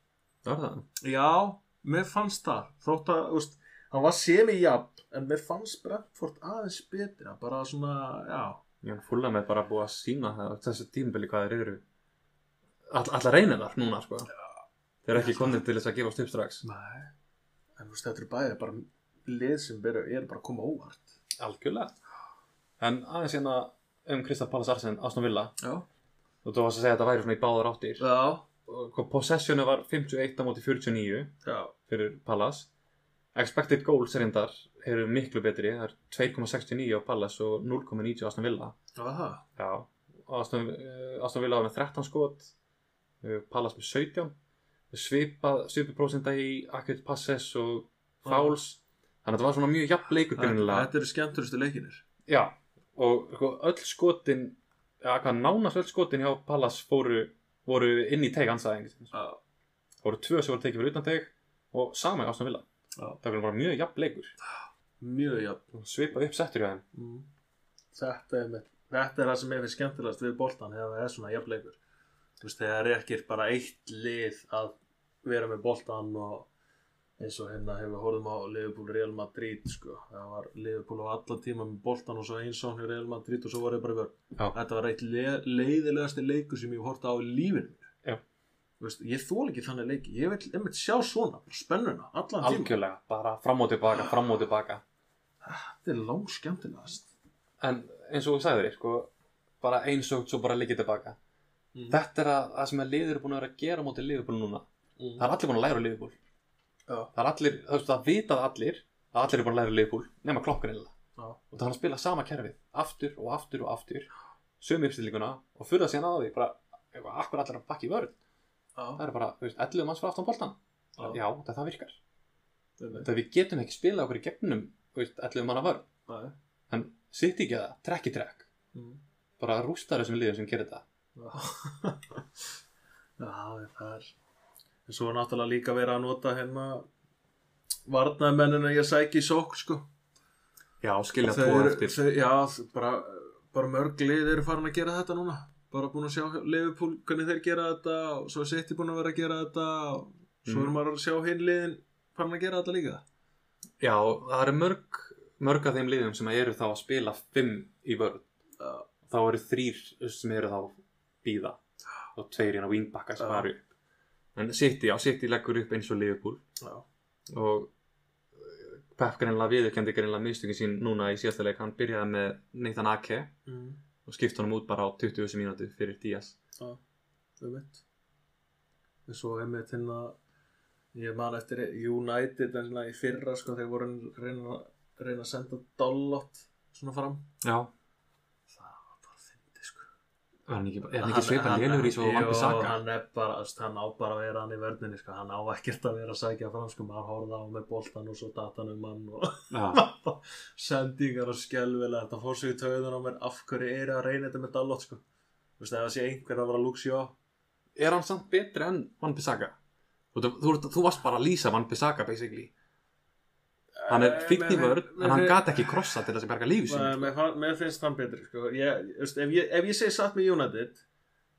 Það var það
Já, mér fannst það þótt að, þú veist, hann var semi-jafn en mér fannst Brentford aðeins betra bara svona, já
Já, fúla með bara búið að sína það þessu tímbili hvað þeir eru All, Alla reynir þar núna, sko Þeir eru ekki komnið til þess að gefast upp strax
Nei, en þú veist, þetta eru bæðið bara lið sem eru, eru bara að koma óvart
Algjörlega En aðeins hérna um Krista Pallas Arsen, Aston Villa
Já
og þú varst að segja að þetta væri svona í báðar áttir
Já,
Hvað possessionu var 51 á móti 49
já,
fyrir Pallas expected goals reyndar eru miklu betri, það er 2,69 á Pallas og 0,90 á Aston Villa
það var það
já, Aston, uh, Aston Villa var með 13 skot uh, Pallas með 17 svipað, svipið prósenda í akkurat passes og fouls þannig að þetta var svona mjög jafn leikur greinilega.
Þetta eru skemmturustu leikinir
já, og sko, öll skotin ja, hvað nánast öll skotin hjá Pallas fóru, voru inn í teig ansæðing
Já,
Það voru tvö sem voru tekið fyrir utan teg og sama í Aston Villa.
Já.
Það var bara mjög jafn leikur.
mjög jafn
Svipað upp settur hjá þeim.
mm. Þetta er með Þetta er það sem ég finnst skemmtilegast við boltan þegar það er svona jafnleikur Þú veist, þegar er ekki bara eitt lið að vera með boltan og eins og hérna hefur við horfðum á Liverpool Real Madrid sko. það var Liverpool á alla tíma með boltan og svo einsón hjá Real Madrid og svo var ég bara í vörn
Já.
Þetta var eitt le leiðilegasti leikur sem ég hef horta á í lífinu mínu.
Já.
Þú veist, ég þól ekki þannig leiki ég vil einmitt sjá svona, bara spennuna allan tíma,
Algjörlega. Bara fram og tilbaka, fram og tilbaka.
þetta er langt skemmtilegast
En eins og þú sagðir þér, sko, bara einsögt svo bara líkið tilbaka.
Mm.
Þetta er að, að sem að liður er búin að vera að gera á móti liðbúl núna.
Mm.
Það er allir búin að læra liðbúl.
Já.
Það er allir, þú veist, það vitað allir að allir er búin að læra liðbúl, nema klokkan eða.
Já.
Og þannig að spila sama kerfið, aftur og aftur og aftur, sömu uppstillinguna og furða síðan á því, bara, akkur allir að bakka í vörð.
Já,
það er bara, þú veist, 11 manns fyrir aftan boltan
Já.
já, þetta það virkar
þetta
það við getum ekki spilað okkur í gegnum þú veist, 11 manna vörn,
er
en sitt ekki það, trekk í trekk
Mm.
bara rústar þessum liðum sem gerir þetta
Já, Já, það er en svo er náttúrulega líka verið að nota hérna varnaðmennina ég sæki í sók sko
já, skilja
Þau eru- þau- já, þau- bara, bara mörg lið eru farin að gera þetta núna bara búin að sjá Liverpool hvernig þeir gera þetta og svo er City búin að vera að gera þetta og svo
Mm.
er maður að sjá hinn liðin farin að gera þetta líka
Já, það eru mörg, mörg af þeim liðum sem eru þá að spila fimm í vörð.
Já.
Þá eru þrýr sem eru þá býða og tveir hérna wingbackar sem
Já.
eru upp. En City, já, City leggur upp eins og Liverpool
Já.
og eh, Pep greinlega viðurkendi greinlega mistökin sín núna í síðasta leik. Hann byrjaði með Nathan Ake
Mm.
og skipti honum út bara á 20 mínúti fyrir Díaz.
einmitt en svo einmitt hérna ég man eftir United en svona í fyrra sko þeir voru að reyna, reyna að senda dollot svona fram
Já,
það var bara fyndi sko
var hann ekki, er hann ekki sveipa lélur í svo vampi
Jú,
saka?
hann er bara, þú veist, hann á bara að vera hann í verðinni sko, hann á ekkert að vera að sækja fram sko, maður horfði á hann með boltan og svo datan um hann og
Já,
sendingar og skelvilega þetta fór sig í töðun á mér, af hverju eru að reyna þetta með dollot sko, þú veist, ef það sé einhver að vera að lúksjó,
er hann samt betri en Van Bissaka? Þú, þú, þú, þú varst bara að lýsa Van Bissaka basically Hann er
Eh,
fíkn í
mér-
vörð
mér-
en hann
mér-
gat ekki krossa til þess að berga lífi
Nei,
sín
mér, fann- mér finnst hann betri sko. ég, þú veist, ef, ég, ef ég segi satt með United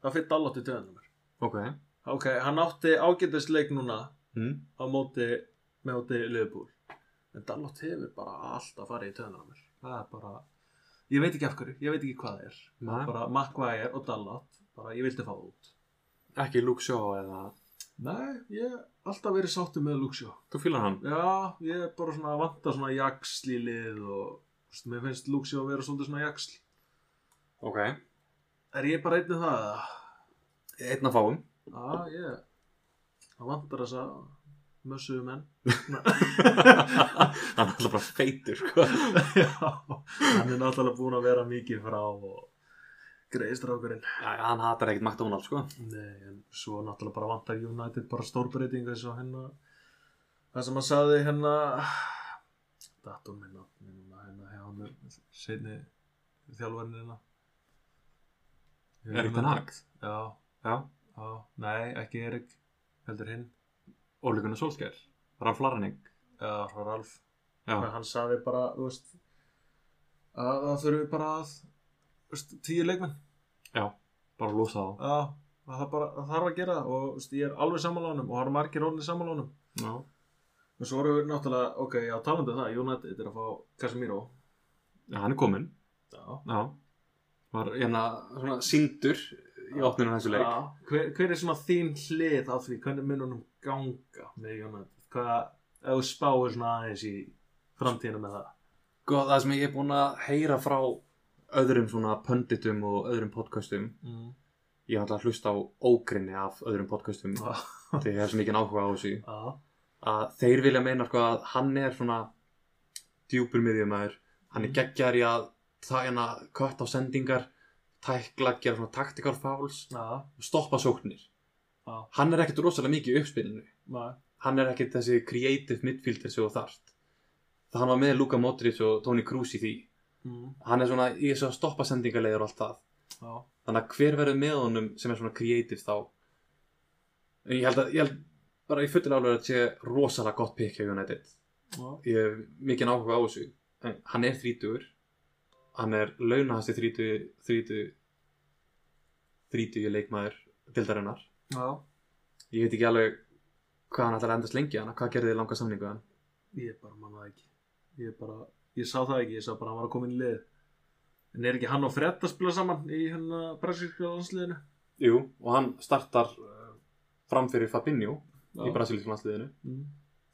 þá fyrir Dallot í döðanum
Ok
ok, hann átti ágætist leik núna
mm.
á móti með móti Liverpool en Dallot hefur bara alltaf farið í döðanum það er bara ég veit ekki af hverju, ég veit ekki hvað það er
Nei.
bara Maguire og Dallot bara ég vildi fá það út
Ekki Luke Shaw eða
nei, ég hef alltaf verið sáttu með Luxjó
Þú fílar hann?
já, ég er bara svona að vanta svona jaksl í lið og þú veist, mér finnst Luxjó að vera svolítið svona jaksl
Ok
er ég bara einnið það eða?
Einn að fáum
Já, ég Það vantar þess að Mössuðu menn
Hann er alltaf bara feitur sko.
Já, hann er náttúrulega búin að vera mikið frá og greiðstrákurinn
Já, já, Hann hatar ekkert McDonald sko.
Nei, en svo náttúrulega bara vantar United bara stórbreytinga eins og hennar Það sem hann sagði hérna, hennar Datum minn nafni núna hennar hjá hann Seinni þjálfarinn hérna. hennar
Erik Ten Hag
Já,
Já
já, nei, ekki Erik Heldur hinn
Ólíkunar Solskjær Ralf Larning
Já, frá Ralf
Já
en hann sagði bara þú veist, að það þurfi bara að þú veist, tíu leikmenn
Já Bara losa þá
að að það bara að þarf að gera það og þú veist, ég er alveg sammálánum og það eru margir orðinni sammálánum
Já
og svo eru við náttúrulega, ok, já talandi um það United er að fá Casemiro
Já, hann er kominn
já,
Já Var hérna svona síndur í opninu þessu leik
já. Hver, hver er svona þín hlið á því hvernig mununum ganga með United hvað, ef þú spáir svona aðeins í framtíðina með það
Góð, Sko, það sem ég er búin að heyra frá öðrum svona pönditum og öðrum podcastum
mm.
Ég ætla að hlusta á ógrinni af öðrum podcastum
já,
Þegar ég hef svo mikið áhuga á þessu
já,
Að þeir vilja meina sko að hann er svona djúpur miðjumæður Hann er
Mm.
geggjar í að það en að kött á sendingar Tækla, gera svona taktikal fáls
já,
Og stoppa sóknir
Já.
Hann er ekkert rosalega mikið í uppspilinu
já,
Hann er ekkert þessi creative midfielder sem þú þarft Það hann var með Luka Modric og Toni Kroos í því
mm.
hann er svona í þessu að stoppa sendingarleiður og allt það
já.
þannig að hver verður með honum sem er svona creative þá en ég held að ég held bara í fullin álur að þetta sé rosalega gott pick hjá United
já.
ég hef mikinn áhuga á þessu en hann er þrítugur hann er launahasti þrítu þrítu þrítu leikmaður dildarinnar
já.
ég veit ekki alveg hvað hann ætlar að endast lengi hann hvað gerði þið langa samningu hann
Ég bara manna það ekki Ég bara, ég sá það ekki, ég sá bara að hann var að koma inn í lið En er ekki hann og Fred að spila saman í hérna brasilíska landsliðinu?
Jú, og hann startar eh, fram fyrir Fabinho í brasilískum landsliðinu
Mm.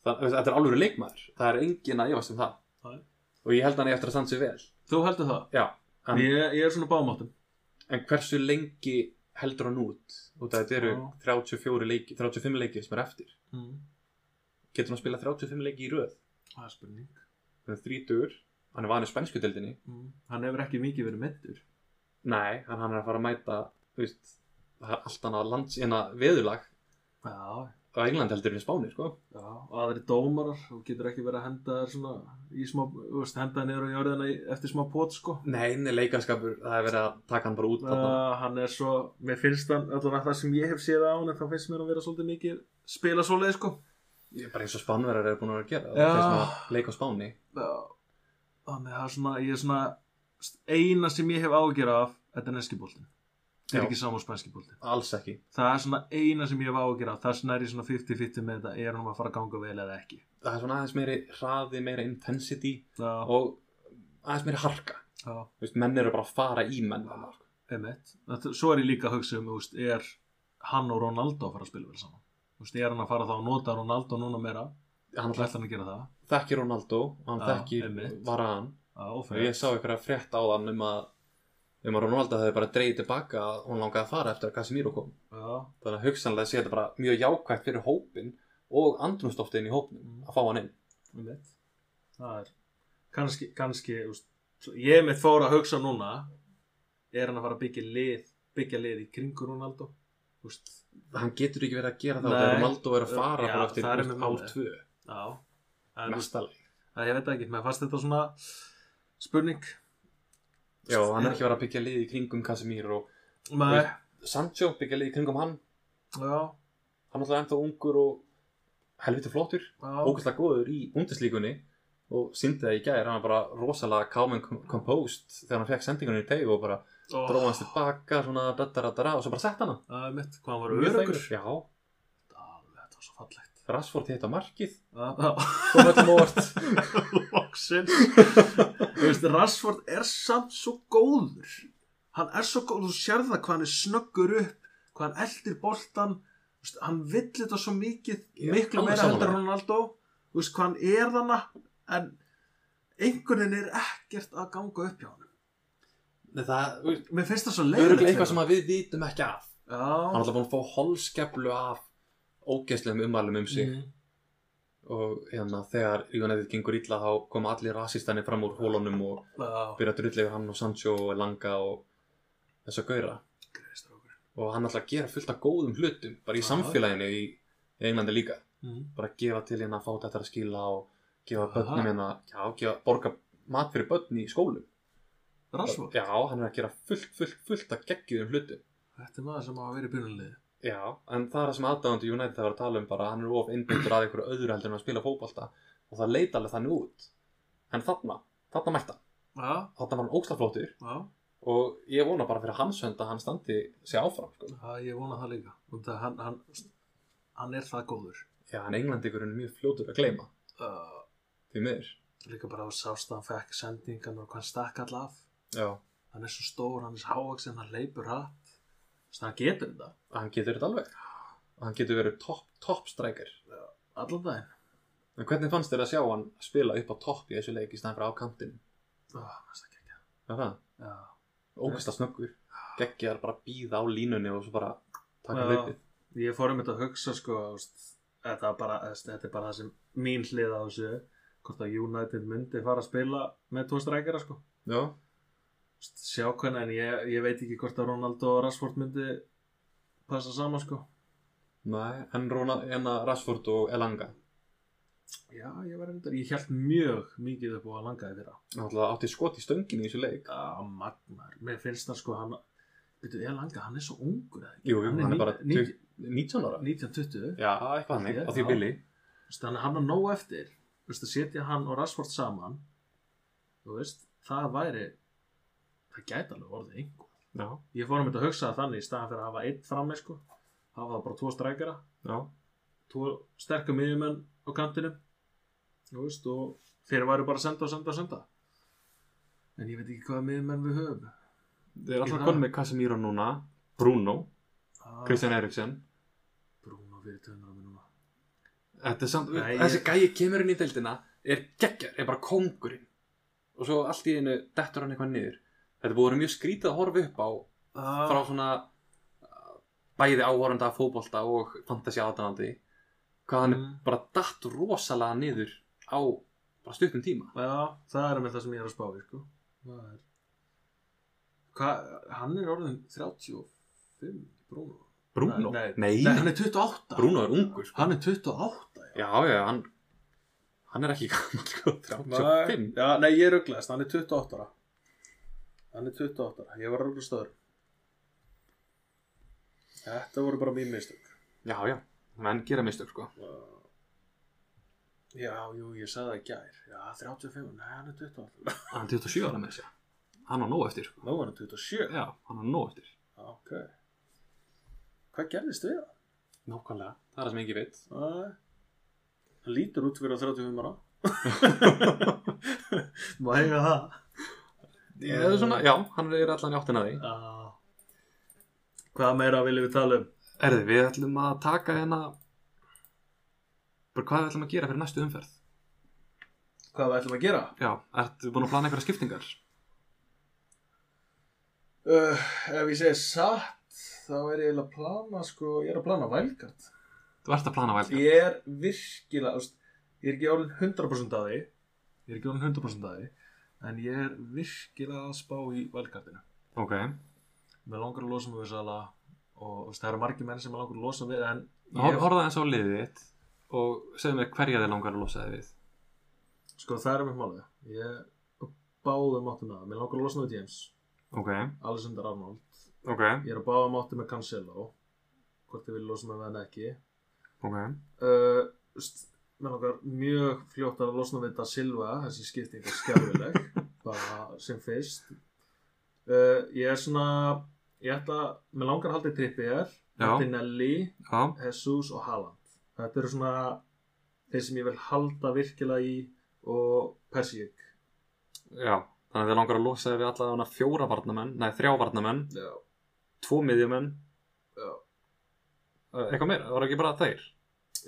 Þann- þú veist, þetta er alveg leikmaður það er engin að efast um það
Nei.
og ég held hann eigi eftir að standa sig vel
Þú heldur það?
já, en,
Ég, ég er svona bámáttum
en hversu lengi heldur hann út og þetta eru
Já.
34 leiki, 35 leikir sem er eftir
mm.
getur hann að spila 35 leiki í röð
Það er spurning
hann er 30, hann er vanið spænsku deildinni
mm. Hann hefur ekki mikið verið meittur
nei, en hann er að fara að mæta þú veist, það er allt annað lands en að veðurlag
Já,
á England heldur en í Spáni sko.
já, og aðri dómarar Þú getur ekki verið að henda þér svona í smá, þú veist, henda þér niður á jörðina í- eftir smá pot, sko
nei, nei, leikaskapur, það er verið að taka hann bara út þarna.
Uh, hann er svo, mér finnst hann allan að það sem ég hef séð á hann þá finnst mér hann vera svolítið mikið spila svoleið sko
Ég er bara eins og spánverðar eru búin að vera að gera
Já.
þeir sem að leika á Spáni
Já, þannig að það er svona, ég er svona eina sem ég hef ágjör af, þetta er neskibóltin
Já.
er ekki saman spænski bólti
alls ekki
það er svona eina sem ég hef ágjör af þess vegna er ég svona 50-50 með þetta er hún að fara að ganga vel eða ekki
það er svona aðeins meiri hraði, meira intensity
það,
og aðeins meiri harka
það,
Þú veist, menn eru bara að fara í menn þarna, sko.
emitt þetta, svo er ég líka að hugsa um úst, er hann og Ronaldo að fara að spila vel saman úst, er hann að fara þá að nota Ronaldo núna meira
hann
ætla hann að gera það
þekkir Ronaldo hann
Já,
þekkir
einmitt.
Varan
Já, og
og ég
Felix.
sá einhverja frétt á þann um að um að Ronaldo hefði bara dreigið tilbaka að hún langaði að fara eftir að Casemiro kom
Já,
þannig að hugsanlega sé þetta bara mjög jákvæmt fyrir hópin og andrumstoftin í
mm.
hópin að fá hann inn
einmitt. það er kannski, kannski úst, ég mitt fór að hugsa núna er hann að fara að byggja lið byggja lið í kringur Ronaldo úst,
hann getur ekki verið að gera það
Nei.
þegar Ronaldo er að fara
Já,
bara eftir
það er
út
einmitt
ár
málið.
tvö
já en, úst,
næsta leik
að, ég veit það ekki, mér fannst þetta svona spurning
já, hann er ekki verið að byggja lið í kringum Casemiro og
Nei,
Sancho byggja lið í kringum hann
já,
hann er alltaf ennþá ungur og helviti flottur
já,
ógæslega góður í bundeslíkunni og síndi það í gær, hann var bara rosalega calm and com- composed þegar hann fekk sendingunni í teg og bara
Ó,
dróð hans tilbaka svona daddaradara og svo bara sett hana
það er mitt, hvað hann var
Mjög
örugur
þægur. Já,
þetta var svo fallegt
Rashford hitt á markið
Já,
kom öllum óvart
Loksins Þú veist, Rashford er samt svo góður Hann er svo góður, þú sér það hvað hann er snöggur upp Hvað hann eldir boltan Þú veist, Hann vill þetta svo mikið
Ég er
Miklu
alveg
meira
sammála.
heldur en Ronaldo Þú veist, hvað hann er þarna En einhvern veginn er ekkert að ganga upp hjá hann
Nei, það
Mér finnst það svo
er
leiðilegt
örglega eitthvað sem að við vitum ekki af hann er
Já
alltaf búin að fá holskeflu af ógeðslegum umvælum um sig
Mm.
og hérna þegar United gengur illa þá koma allir rasistani fram úr hólunum og
Já,
byrja að drulla yfir hann og Sancho og Langa og þess að gauðra
greið strákur
og hann ætla að gera fullt af góðum hlutum bara í
Já.
samfélaginu í í Englandi líka
mm.
bara gefa til hérna fátættar að skila og gefa
Aha.
börnum hérna já, gefa, borga mat fyrir börn í skólum
Rashford,
já, hann er að gera fullt, fullt, fullt að geggjum hlutum
þetta er maður sem á að vera í byrjunlið
já, en það er það sem aðdáðandi United það var að tala um bara hann er of innbyggur að einhverju öðru heldur en að spila fótbolta og það leita alveg þannig út en þarna, þarna mætti hann
Já,
þarna var hann ógslaflóttur
já
og ég vona bara fyrir hans hönd að hann standi sig áfram sko.
Já, ég vona það líka og það, hann, hann, hann er það góður
já, en Englandingurinn er mjög fljótur að gleyma
uh,
því miður
líka bara á sást að hann fekk sendingan og hvað hann stakk all af
já,
hann er svo stór, hann er svo hávaxinn, hann leipur hratt þannig að hann getur þetta
hann getur þetta alveg hann getur verið topp top strækir
allan daginn
en hvernig fannst þér að sjá hann spila upp á topp í þessu leik í stæðan fyrir á kantinn
oh, mest ekki ekki
er það?
Já,
ógæsta snöggur geggjar bara býða á línunni og svo bara taka
Já.
hlaupið
ég fór um þetta að hugsa sko ást, þetta, var bara, ást, þetta er bara það sem mín hlið á þessu hvort að United myndi fara að spila með tvo strækjara sko
já,
Ást, sjá hvernig en ég, ég veit ekki hvort að Ronaldo og Rashford myndi passa saman sko
nei, en Rúna, enna Rashford og Elanga
Já, ég var einhvern ég held mjög mikið upp á að langa þeirra.
náttúrulega átti skot í stöngin í þessu leik
Já, magnar, mér finnst það sko hann, veitu, ég langa, hann er svo ungur eða ekki?
jú, jú, hann er
ní-
bara
ní-
20 19 ára
1920,
já, eitthvað hannig,
Já.
á því bili
Þú veist, þannig að hann var nóg eftir, þú veist, að setja hann og Rashford saman, þú veist, það væri, það gæti alveg orðið einhver.
já,
Ég fór um þetta að hugsa það þannig í staðan fyrir að hafa einn frammi, sko, hafa það bara tvo strækjara,
já,
tvo sterka miðjumenn á kantinum, þú veist, og þeir væri bara að senda og senda og senda. En ég veit ekki hvaða miðjumenn við höfum.
þeir eru alltaf
Já.
konum með Casemiro núna Bruno,
Ah,
Christian Eriksen
Bruno fyrir tönar á mér núna
Þetta er samt,
Nei, ég-
þessi gæi kemur inn í deildina er geggjar, er bara kóngurinn og svo allt í einu dettur hann eitthvað niður Þetta er búið að vera mjög skrítið að horfa upp á frá svona uh, bæði áhorenda fótbolta og fantasy aðdæðandi hvað hann
Mm.
bara datt rosalega niður á bara stuttum tíma
Já, það er með það sem ég er að spá í sko. Það er Hva, Hann er orðin 35 Bruno
Bruno?
Nei,
Nei,
Nei, hann er 28
Bruno er ungur sko.
Hann er 28 já.
Já, já, hann hann er ekki gammal sko, 35
já, nei, ég er auglast, hann er 28 ára Hann er 28 ára, ég var auglast öður Þetta voru bara mín mistök
Já, já, menn gera mistök sko
Uh, Já, jú, ég sagði það í gær Já, 35, nei, hann er 28
Hann er 27 ára með þessi Hann á nóg eftir sko.
Nú er hann 27
Já, hann á nóg eftir
ok hvað gerðist við það?
Nákvæmlega, það er það sem engi veit
Nei. hann lítur út fyrir að 35 ára
Má eiga það Eh,
Ég er svona, já, hann er allan í áttina að því
Já. Hvað meira viljum við tala um?
Erði, við ætlum að taka hérna bara hvað við ætlum að gera fyrir næstu umferð
Hvað við ætlum að gera?
Já, ertu búin að plana einhverja skiptingar?
Uh, ef ég segi satt þá er ég eiginlega að plana sko, ég er að plana vælgart
Þú ert að plana vælgar
Ég er virkilega, þú veist, ég er ekki orðin 100% að því ég er ekki orðin 100% að því en ég er virkilega að spá í vælgartinu
Ok,
Mér langar að losa mig við sala og þú veist, það eru margir menn sem mér langar að losa við en
Hor-
ég,
horfðu aðeins á liðið þitt og segðu mér hverja þið langar að losa þið við
sko það er mér málið ég er á báðum áttum að það Mér langar að losa mig við James,
Ok,
Alexander Arnold
ok,
Ég er að báða mátti með Cancelo hvort ég vil losna við hann ekki
ok
uh, st, með nokkar mjög fljótt að losna við Da Silva þessi skipting er skjálfileg bara sem fyrst uh, ég er svona ég ætla, með langar haldið Trippier
Já.
Martinelli,
Já,
Jesus og Haaland þetta eru svona þeir sem ég vil halda virkilega í og Persík
já Þannig að þið langar að losa þið við alla þarna fjóra varnamenn Nei, þrjá varnamenn,
Já,
tvo miðjumenn
já
eh, Eitthvað meira, það var ekki bara þeir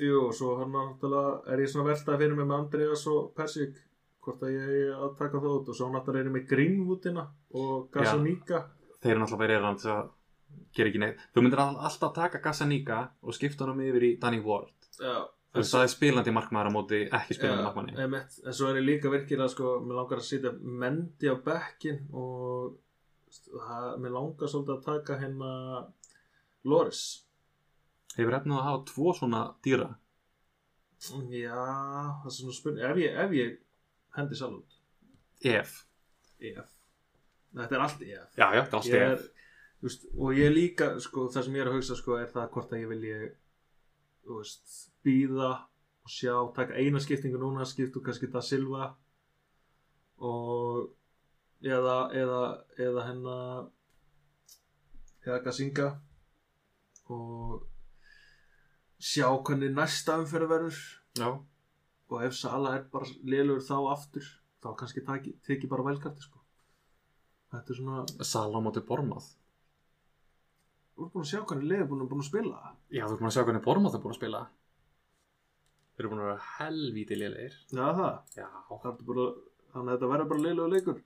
Jú, svo hann náttúrulega er ég svona veltað fyrir mig með Andreas og Persík hvort að ég er að taka það út og svo náttúrulega er ég með Greenwoodina og Gasanika
Þeir eru náttúrulega verið hann til að gera ekki neitt Þú myndir all- alltaf taka Gasanika og skipta hann um yfir í Danny Ward
Já,
Þú veist, það er spilandi markmaður á móti ekki spilandi markmanni
en, en svo er ég líka virkilega sko, mér langar að sitja Mendy á bekkin og það, mér langar svolítið að taka hérna Loris
Hefur efnað að hafa tvo svona dýra
Já, það er svona spurning ef ég, ef ég hendi sjálf út
Ef
EF Þetta er allt EF
Já, já, það er allt E
ég er,
ef
þú veist, og ég er líka sko, það sem ég er að hugsa sko, er það hvort að ég vil ég þú veist, býða og sjá, taka eina skiptingu núna skiptu kannski það silfa og eða eða, eða hennar eða Gasinga og sjá hvernig næsta umferð verður
Já,
og ef Sala er bara lélur þá aftur þá kannski taki, teki bara velkarti sko þetta er svona
Sala á móti Bormað
Þú ert búin að sjá hvernig liðið er búin að, búin að spila
Já, þú ert búin að sjá hvernig Bormað er búin að spila Þeir eru búin að vera helvíti lélegir
Já það,
Já,
það ertu bara Þannig að þetta verður bara liðlega leikur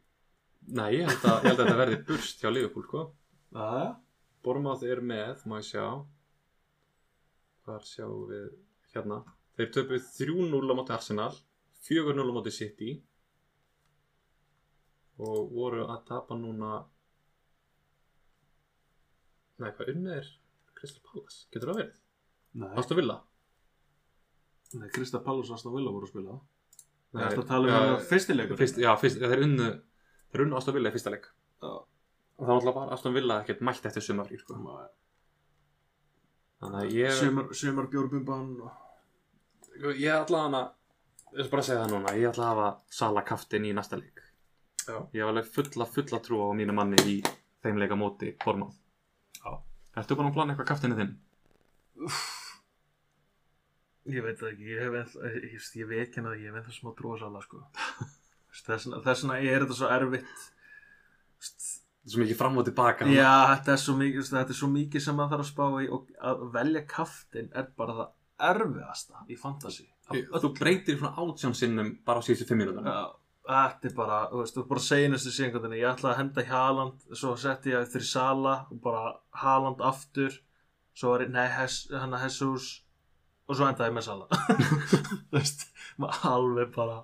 Nei, ég held að, ég held að þetta verði burst hjá Liverpool, sko.
Aða,
Bormáð er með, má ég sjá. Hvar sjáum við hérna? Þeir töpuð 3-0 á móti Arsenal, 4-0 á móti City og voru að tapa núna Nei, hvað unnið er Crystal Palace? Getur það verið?
nei,
Ástu Villa?
nei Krista Pallus og Aston Villa voru að spila Það
Nei,
er að tala um
ja,
ja, fyrstileikur
fyrst, Já, fyrst, ja, þeir unnu þeir unnu Ástu Villa í fyrsta leik
Já.
og það var Ástu Villa ekkert mætt eftir sumafrí, sko Þannig að ég
Sumar, sumar bjórbumban og...
Sko, Ég ætla að hana Ég ætla bara að segja það núna Ég ætla að hafa Sala kaftin í næsta leik
Já.
Ég hef alveg fulla, fulla trú á mínu manni í þeim leika móti Bormáð
Já.
Ertu bara að plana eitthvað kaftinu þinn?
Ég veit það ekki, ég hef ennþá Ég, ég, ég veit hérna að ég hef ennþá smá tróðsala sko. Þessna, þessna er þetta svo erfitt Vist,
Svo mikið fram og tilbaka
Já, þetta er svo mikið, þetta er svo mikið sem maður þarf að spá í og að velja kaftin er bara það erfiðasta í fantasi.
Þú breytir svona átján sinnum bara á síðustu fimm minútur
Já, Þetta er bara, þú veist, þú bara segir næstu síðan ég ætlaði að henda í Haaland, svo setti ég eftir í Sala og bara Haaland aftur, svo var ég, nei, Hes, hann að Jesus og svo endaði ég með Sala. þú veist, maður alveg bara,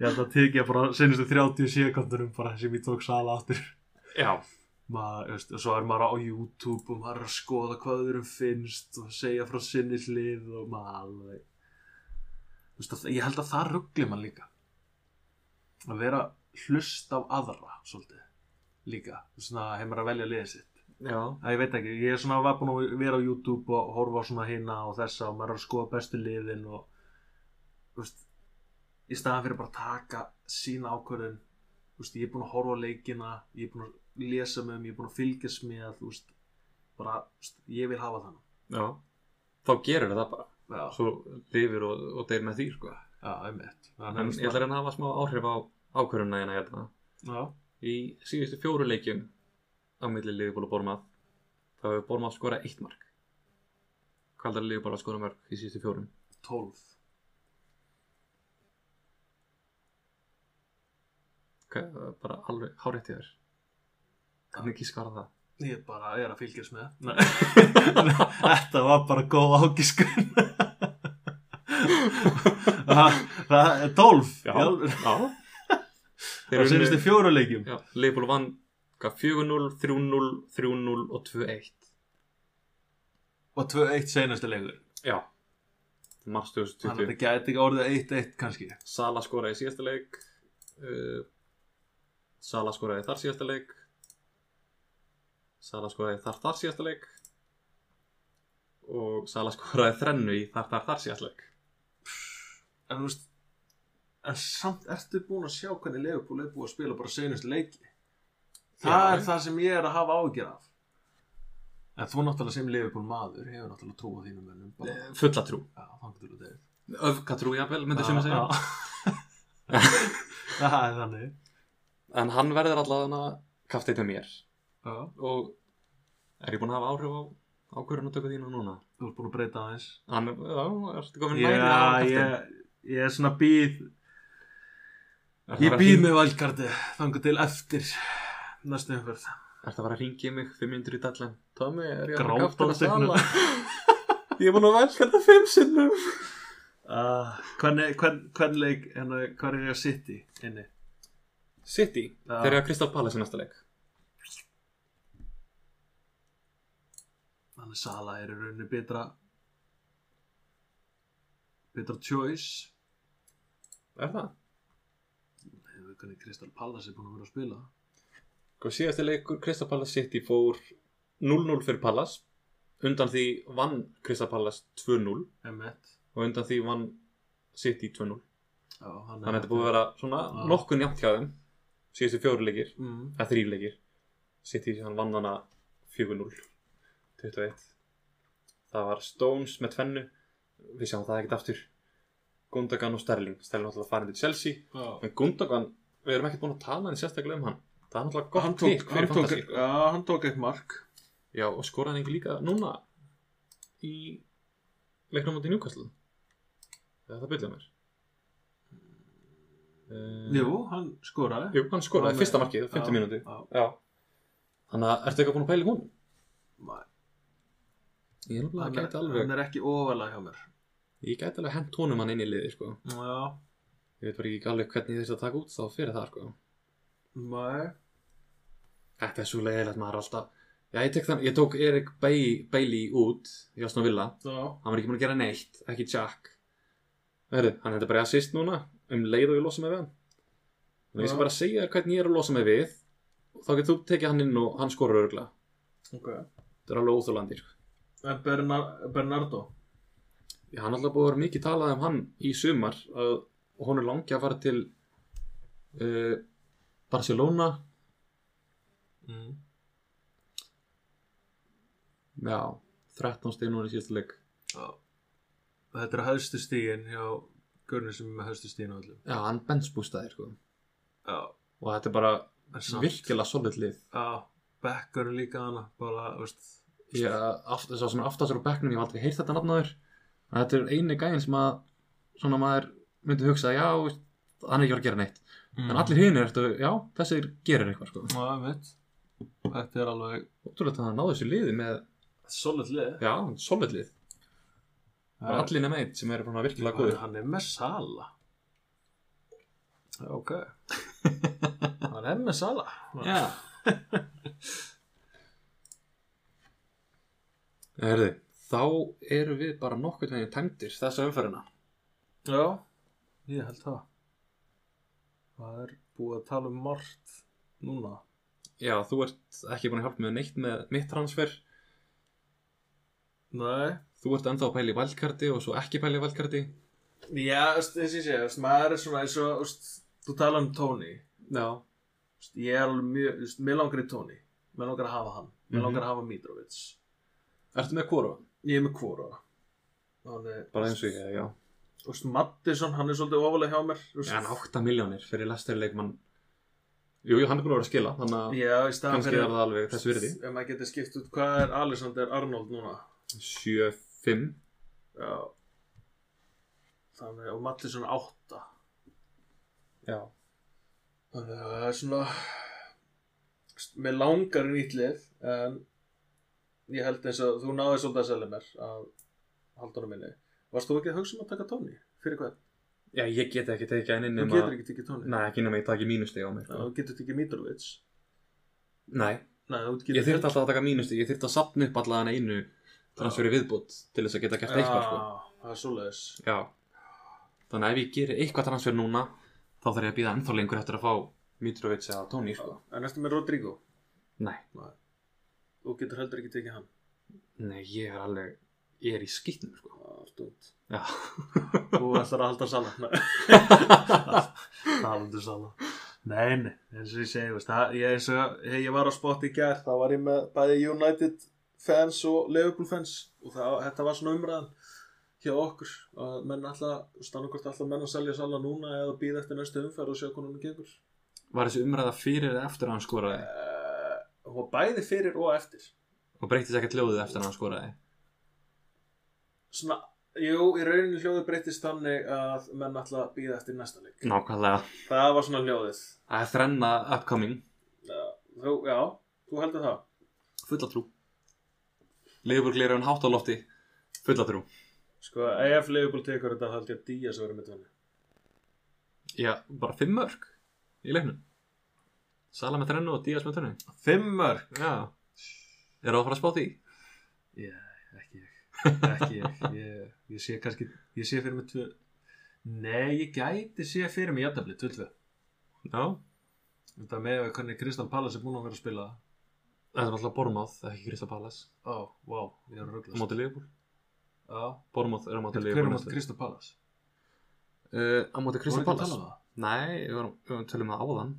ég ætla að tekja bara síðustu 30 síðan bara sem ég tók Sala aftur.
Já,
maður, veist, og svo er maður á YouTube og maður er að skoða hvað öðrum finnst og segja frá sinni hlið og maður alveg Þú veist, að- ég held að það ruggli mann líka að vera hlust af aðra svolítið líka, Þú veist, svona hefur maður að velja liðið sitt
já
að ég veit ekki, ég er svona var búin að vera á YouTube og horfa á svona hina og þessa og maður er að skoða bestu liðin og þú veist í staðan fyrir bara að taka sína ákvörðun þú veist, ég er búin að horfa á leikina ég er búin að lesa með um, ég er búin að fylgjast með þú veist, bara, st- ég vil hafa þann
já, þá gerur það bara
já,
svo lifir og, og deyr með því sko.
já, einmitt
en ég ætla að reyna að hafa smá áhrif á ákvörðuna hérna hérna
já,
í síðustu fjóru leikjum á milli liðbúl og Bormað þá hefur Bormað skorað eitt mark hvað heldur að liðbúl að skora mörg í síðustu fjórum
12
Hvað- bara alveg hárétt í þér hvernig ekki skara það
ég bara er að fylgjast með Nei. þetta var bara góð ágiskun það, það er 12
já. Þeir
það
eru
sérstu fjóruleikjum
Já, Leifból vann hvað, 4-0, 3-0, 3-0 og 2-1
og 2-1 senastu leikur
Já Mars
þannig að
2020
þetta gæti ekki orðið 1-1 kannski
Sala skoraði í síðasta leik uh, Sala skoraði þar síðasta leik Sala skoraði þar þar síðasta leik og Sala skoraði þrennu í þar þar þar síðasta leik
en þú veist en samt ertu búin að sjá hvernig Leopold er búin að spila bara senastu leiki það
Já.
er það sem ég er að hafa ágjör af en þú náttúrulega sem Leopold maður hefur náttúrulega trú á þínum mönnum bara,
Eh, Fulla trú,
já, þannig til að þeir
öfgatrú jafnvel, myndi sem að segja
það er þannig
En hann verður allavega kaftið með mér
já.
og er ég búinn að hafa áhrif á ákvörðun að tökka þína núna?
þú ert búin að breyta aðeins
Hann, já, ertu komin nær í
já,
aðalkaftin?
ég, ég er svona býð
Ertu að
ég
fara að
býð
hring-
með valkarti þangur til eftir næstu umhverð
Ertu að fara að ringja mig fimm myndur í dallan? Tómi, er ég að
Grátandi
kaftin að
augnum.
sala? ég er búinn að velja þetta fimm sinnum
uh, hvernig, hvern, hvern leik hérna, hvað er ég að sitt í Ah, inni
City,
Já.
þeir eru að Kristal Palace í næsta leik
þannig Sala er í rauninni betra betra choice
Er það?
hefur hvernig Kristal Pallas er búin að vera að spila
Hvað Sko, síðasti leikur Kristal Palace City fór 0-0 fyrir Palace undan því vann Kristal Palace 2-0
M1
og undan því vann City 2-0
Já, hann
Þannig að þetta er búið að vera svona
Já.
nokkun jafnt hjá þeim síðustu fjóru leikir
mm,
eða þrýr leikir City hann vann hana 4-0 21 það var Stones með tvennu við sjáum það ekkert aftur Gundogan og Sterling Sterling náttúrulega farin til Chelsea
já.
en Gundogan, við erum ekkert búin að tala en sérstaklega um hann það er náttúrulega
hann
gott
tók,
pick
hann,
fyrir
tók,
fantasy sko.
já, hann tók eitt mark
já og skoraði hann ekki líka núna í leiknum átti Newcastle eða það byrja mér uh,
jú, hann skoraði
jú, hann skoraði fyrsta markið, 50 mínúti
já,
Já Þannig að ertu eitthvað búin að pæla í hún?
Nei.
Ég er alveg
hann,
að
er,
gæta alveg
hann er ekki ofalega hjá mér
Ég gæti alveg hent honum hann inn í liði sko
já,
Ég veit bara ekki alveg hvernig ég þurfti að taka út þá fyrir það sko
nei
Þetta er svo leiðilegt maður er alltaf Já ég tek þann, ég tók Erik Bay- Bailey út í Aston Villa
já,
Hann var ekki búin að gera neitt, ekki Jack Verðu, hann hefði bara í assist núna um leið og ég losa mig við hann Þannig að ég
Já.
skal bara segja þér hvernig ég er að losa mig við og þá getur þú tekið hann inn og hann skorur örgla
ok
Þetta er alveg sko. óþjólandir
en Bernar, Bernardo
Já, hann er alltaf búið að vera mikið talað um hann í sumar að hún er langi að fara til uh, Barcelona
mm.
Já, 13 stig núna í síðasta leik
já þetta er höfstu stígin hjá Gurnir sem er með höfstu stígin á öllum
Já, hann benchbústaðir sko
já,
og þetta er bara
en samt
virkilega solid lið
Já, Becker líka hana bara, þú veist
Ég, aft, sá sem aftastur á bekknum, ég hef aldrei heyrt þetta nafnaður en þetta er eini gæðin sem að svona maður myndi hugsa já, veist, hann er ekki að fara að gera neitt Mm.
Mm.
en allir hinir, ertu, já, þessir gerir eitthvað sko
Já, ég veit Þetta er alveg
Ótrúlega að hann náði þessu liði með,
Solid lið
já, solid lið bara allir nema einn sem eru svona virkilega góður
Hann er með Sala Já, ok Hann er með Sala
Já Herði, þá erum við bara nokkuð veginn tæmdir þessa umferðina
Já, ég held það Það er búið að tala um margt núna
Já, þú ert ekki búin að hjálpa með neitt með mitt transfer
Nei
Þú ert ennþá að pæla í valkarti og svo ekki pæla í valkarti
Já, þú veist, þessi sé, þú veist, maður er svona eins og, þú veist, þú tala um Tony
Já
Þú veist, ég er alveg mjög, þú veist, mér langar í Tony mér langar að hafa hann, mér
Mhm.
langar að hafa Mitrovic
Ertu með hvora?
Ég er með kvóra
Þannig,
Bara eins og ég, já
Þú veist, Mattisson, hann er svolítið ofalega hjá mér þú veist.
En 8 miljónir fyrir lestari leikmann Jú, jú, hann er búin að vera að skila Þannig að
Já, í staðan
kannski er það alveg þess virði
Ef maður getur skipt út, hvað er Alexander Arnold núna?
7-5
Já Þannig, og Mattisson 8
Já
Þannig að það er svona Mér langar í nýtt lið En Ég held eins að þú náði svolítið að selja mér Að haldunum minni Varst þú ekki að hugsa um að taka tóni? Fyrir hvað?
Já, ég get ekki tekið hann inn
Þú
nema
getur ekki tekið tóni
Nei, ekki nema ég taki mínusteg á mig
Þú getur tekið Mitrovic
Nei,
Nei, þú getur
ég þyrfti alltaf að taka mínusteg Ég þyrfti að sapna upp allan einu transferi viðbútt til þess að geta gert eitthvað sko.
Já, það er svoleiðis
Já Þannig að ef ég gerir eitthvað transfer núna þá þarf ég að býða ennþá lengur eftir að fá Mitrovic eða Tony sko.
En eftir með Rodrigo
Nei,
Þú getur heldur ekki tekið hann
nei, ég er alveg ég er í skýtnum sko.
Já, stund
Já,
Þú ætlar að halda sala Nei.
talandu sala
Nei, nei, eins og ég segi, veist, það, ég, eins og, hey, ég var á spott í gær, þá var ég með bæði United fans og Liverpool fans og það, þetta var svona umræðan hjá okkur, að menn alltaf, stannukvort alltaf menn að selja sala núna eða býða eftir næstu umferð og sjá hvernig hún gengur.
var þessi umræða fyrir eða eftir að hann skoraði
Uh, og bæði fyrir og eftir.
og breytist ekkert ljóðið eftir að hann skoraði
Svona, jú, í rauninni hljóði breytist þannig að menn alltaf býða eftir næsta leik.
Nákvæmlega,
Það var svona hljóðið.
það er þrenna upcoming,
Þú, já, þú heldur það.
fullatrú Leifur glera hann hátt á lofti fullatrú
Sko, ef Liverpool tekur þetta, þá held ég að Díaz verður með tvenni.
Já, bara fimm mörg í leiknum Sala með þrennu og Díaz með þrennu
Fimm mörg
Já, er það að fara að spá því?
Ekki ég Ekki ég Ég, ég sé kannski Ég sé fyrir mig tvö Nei, ég gæti sé fyrir mig jættabli, tvö tvö
Já,
Þetta með að hvernig Kristján Pallas er búin að vera að spila
það er alltaf Bormáð, ekki Krista Pallas
Ó, oh, vá, wow, ég er
á
að ruggla
móti Leifur
Já,
Bormáð er á móti
Þetta hver er
Leifur
mátt Kristján Pallas?
Uh, á móti Krista
Vorum við ekki að
Pallas
tala um það?
Nei, við varum, við varum tölum um það áðan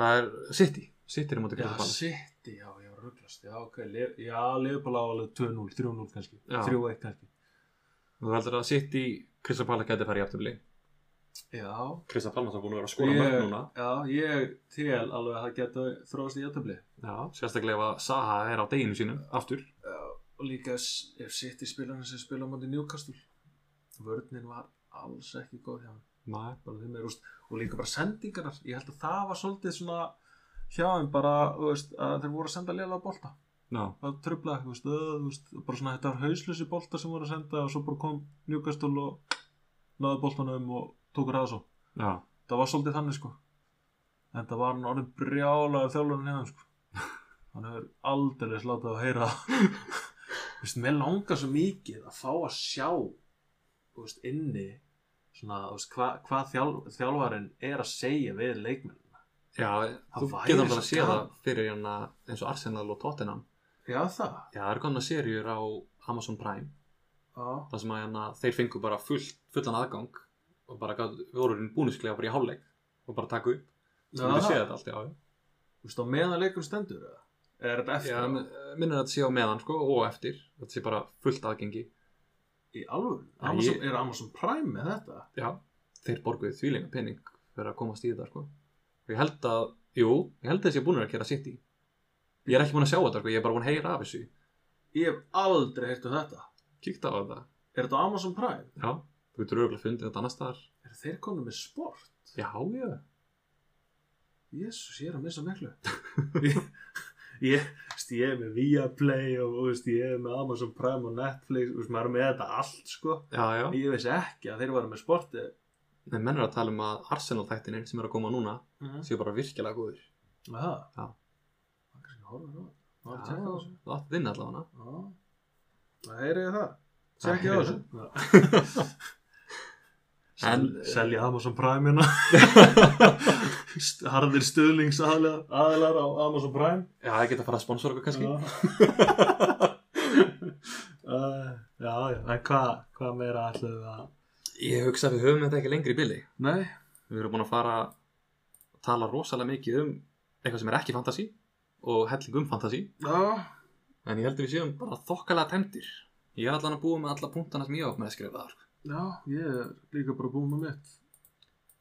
Það er City City er á móti
Já,
Krista Pallas
City, já, ég var rugglast Já, ok, Lif- já, Liverpool á alveg 2-0, 3-0 kannski
Já.
3-1 kannski
Þú heldur að City, Krista Pallas gæti að fara í afturli
Já,
Krista Pallas er búin að vera að
Ég-
skora mörg núna
Já, ég tel alveg að það geta þróast í jættabli
Já, sérstaklega ef að Saha er á deginu sínum aftur
og líka s- ef City spilarinn sem spila á móti Newcastle vörninn var alls ekki góð hjá hann
Nei
bara þeim er úst og líka bara sendingarnar ég held að það var svolítið svona hjá þeim bara, þú veist, að þeir voru að senda lélega bolta,
Já,
það tröflaði, þú veist, öð, þú veist bara svona þetta var hauslösi bolta sem voru að senda og svo bara kom Newcastle og náði boltanum og tók ræða svo
já
það var svolítið þannig sko en það var hann orðin brjálaður þjálfurinn hérna sko hann hefur aldrei slátað að heyra það. Þú veist, mér langar svo mikið að fá að sjá þú veist, inni svona, þú veist, hva, hvað þjálf, þjálfarinn er að segja við leikmennina
Já,
Það
þú
væri
getur alveg
svo
að sé það
gaman.
fyrir hérna eins og Arsenal og Tottenham
já það
Já, það eru konar serjur á Amazon Prime
já,
þar sem að hérna, þeir fengu bara full, fullan aðgang og bara gat, við vorum búnusklega bara í hálfleik og bara taka upp
já
þú getur séð þetta
það,
allt, já,
þú veist, á meðan leikum stendur eða? er
já
þetta eftir
já, minnir að þetta sé á meðan sko, og eftir, þetta sé bara fullt aðgengi
í alvöru,
Já,
Amazon,
ég-
er Amazon Prime með þetta
já, þeir borguðu þvílinga pening fyrir að komast í þetta sko. og ég held að, jú, ég held að þessi búnur að gera sitt í ég er ekki búin að sjá þetta, sko, ég er bara búin að heyra af þessu
ég hef aldrei heyrt um þetta
kíkta á þetta,
er þetta á Amazon Prime?
já, þú getur auðvitað fundið þetta annars staðar,
er þeir konum með sport?
já, já
Jésús, ég er að missa miklu Ég, ég, veist, ég er með Viaplay og og, veist, ég er með Amazon Prime og Netflix veist, maður er með þetta allt sko
já, já,
ég veist ekki að þeir varum með sporti
en menn er að tala um að Arsenal þættinir sem er að koma núna
Mhm.
séu bara virkilega góður
Aha.
Já.
Það er kannski að horfa á það. Það er að tjekka á þessu.
það átti þinn allavega
Já. Það heyrið þið það
Það
Tjekkið á
heyrið
þessu
En-
Sel- Selja Amazon Prime-ina Harðir stuðlingsaðilar á Amazon Prime
Já, það geta að fara að sponsora okkur kannski.
Já. uh, já, já, en hvað hva meira ætlum við að
Ég hugsa að við höfum þetta ekki lengri í billi.
Nei,
Við erum búin að fara að tala rosalega mikið um eitthvað sem er ekki fantasi og helling um fantasi.
já,
En ég held að við séum bara þokkalega tæmdir. Ég er allan að búa með alla punktana sem ég áf með að skrifa þar.
Já, ég er líka bara búin með mitt.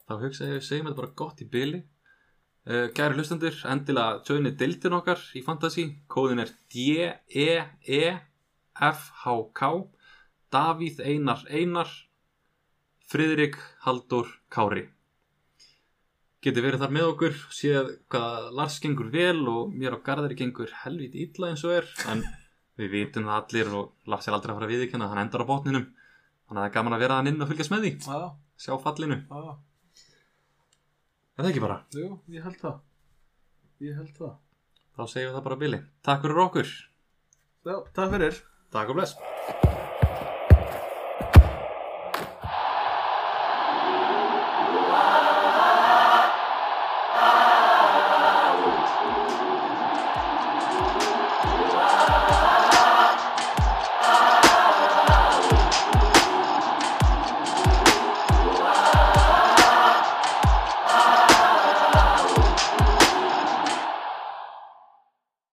Þá hugsa ég, segjum þetta bara gott í byli. Uh, Gæri hlustendur, endilega tjóðinni deildin okkar í Fantasí. Kóðin er E D-E-E-F-H-K Davíð Einar Einar Friðrik Haldur Kári. Getið verið þar með okkur, séð hvað Lars gengur vel og mér og Garðari gengur helviti illa eins og er. En við vitum það allir og Lars er aldrei að fara að viðkjanna, hann endar á botninum. Þannig að það er gaman að vera hann inn og fylgjast með því,
Já,
sjá fallinu.
já,
Er það ekki bara?
jú, ég held það. Ég held það.
Þá segjum við það bara bili. Takk fyrir okkur.
Já, takk fyrir.
Takk og bless.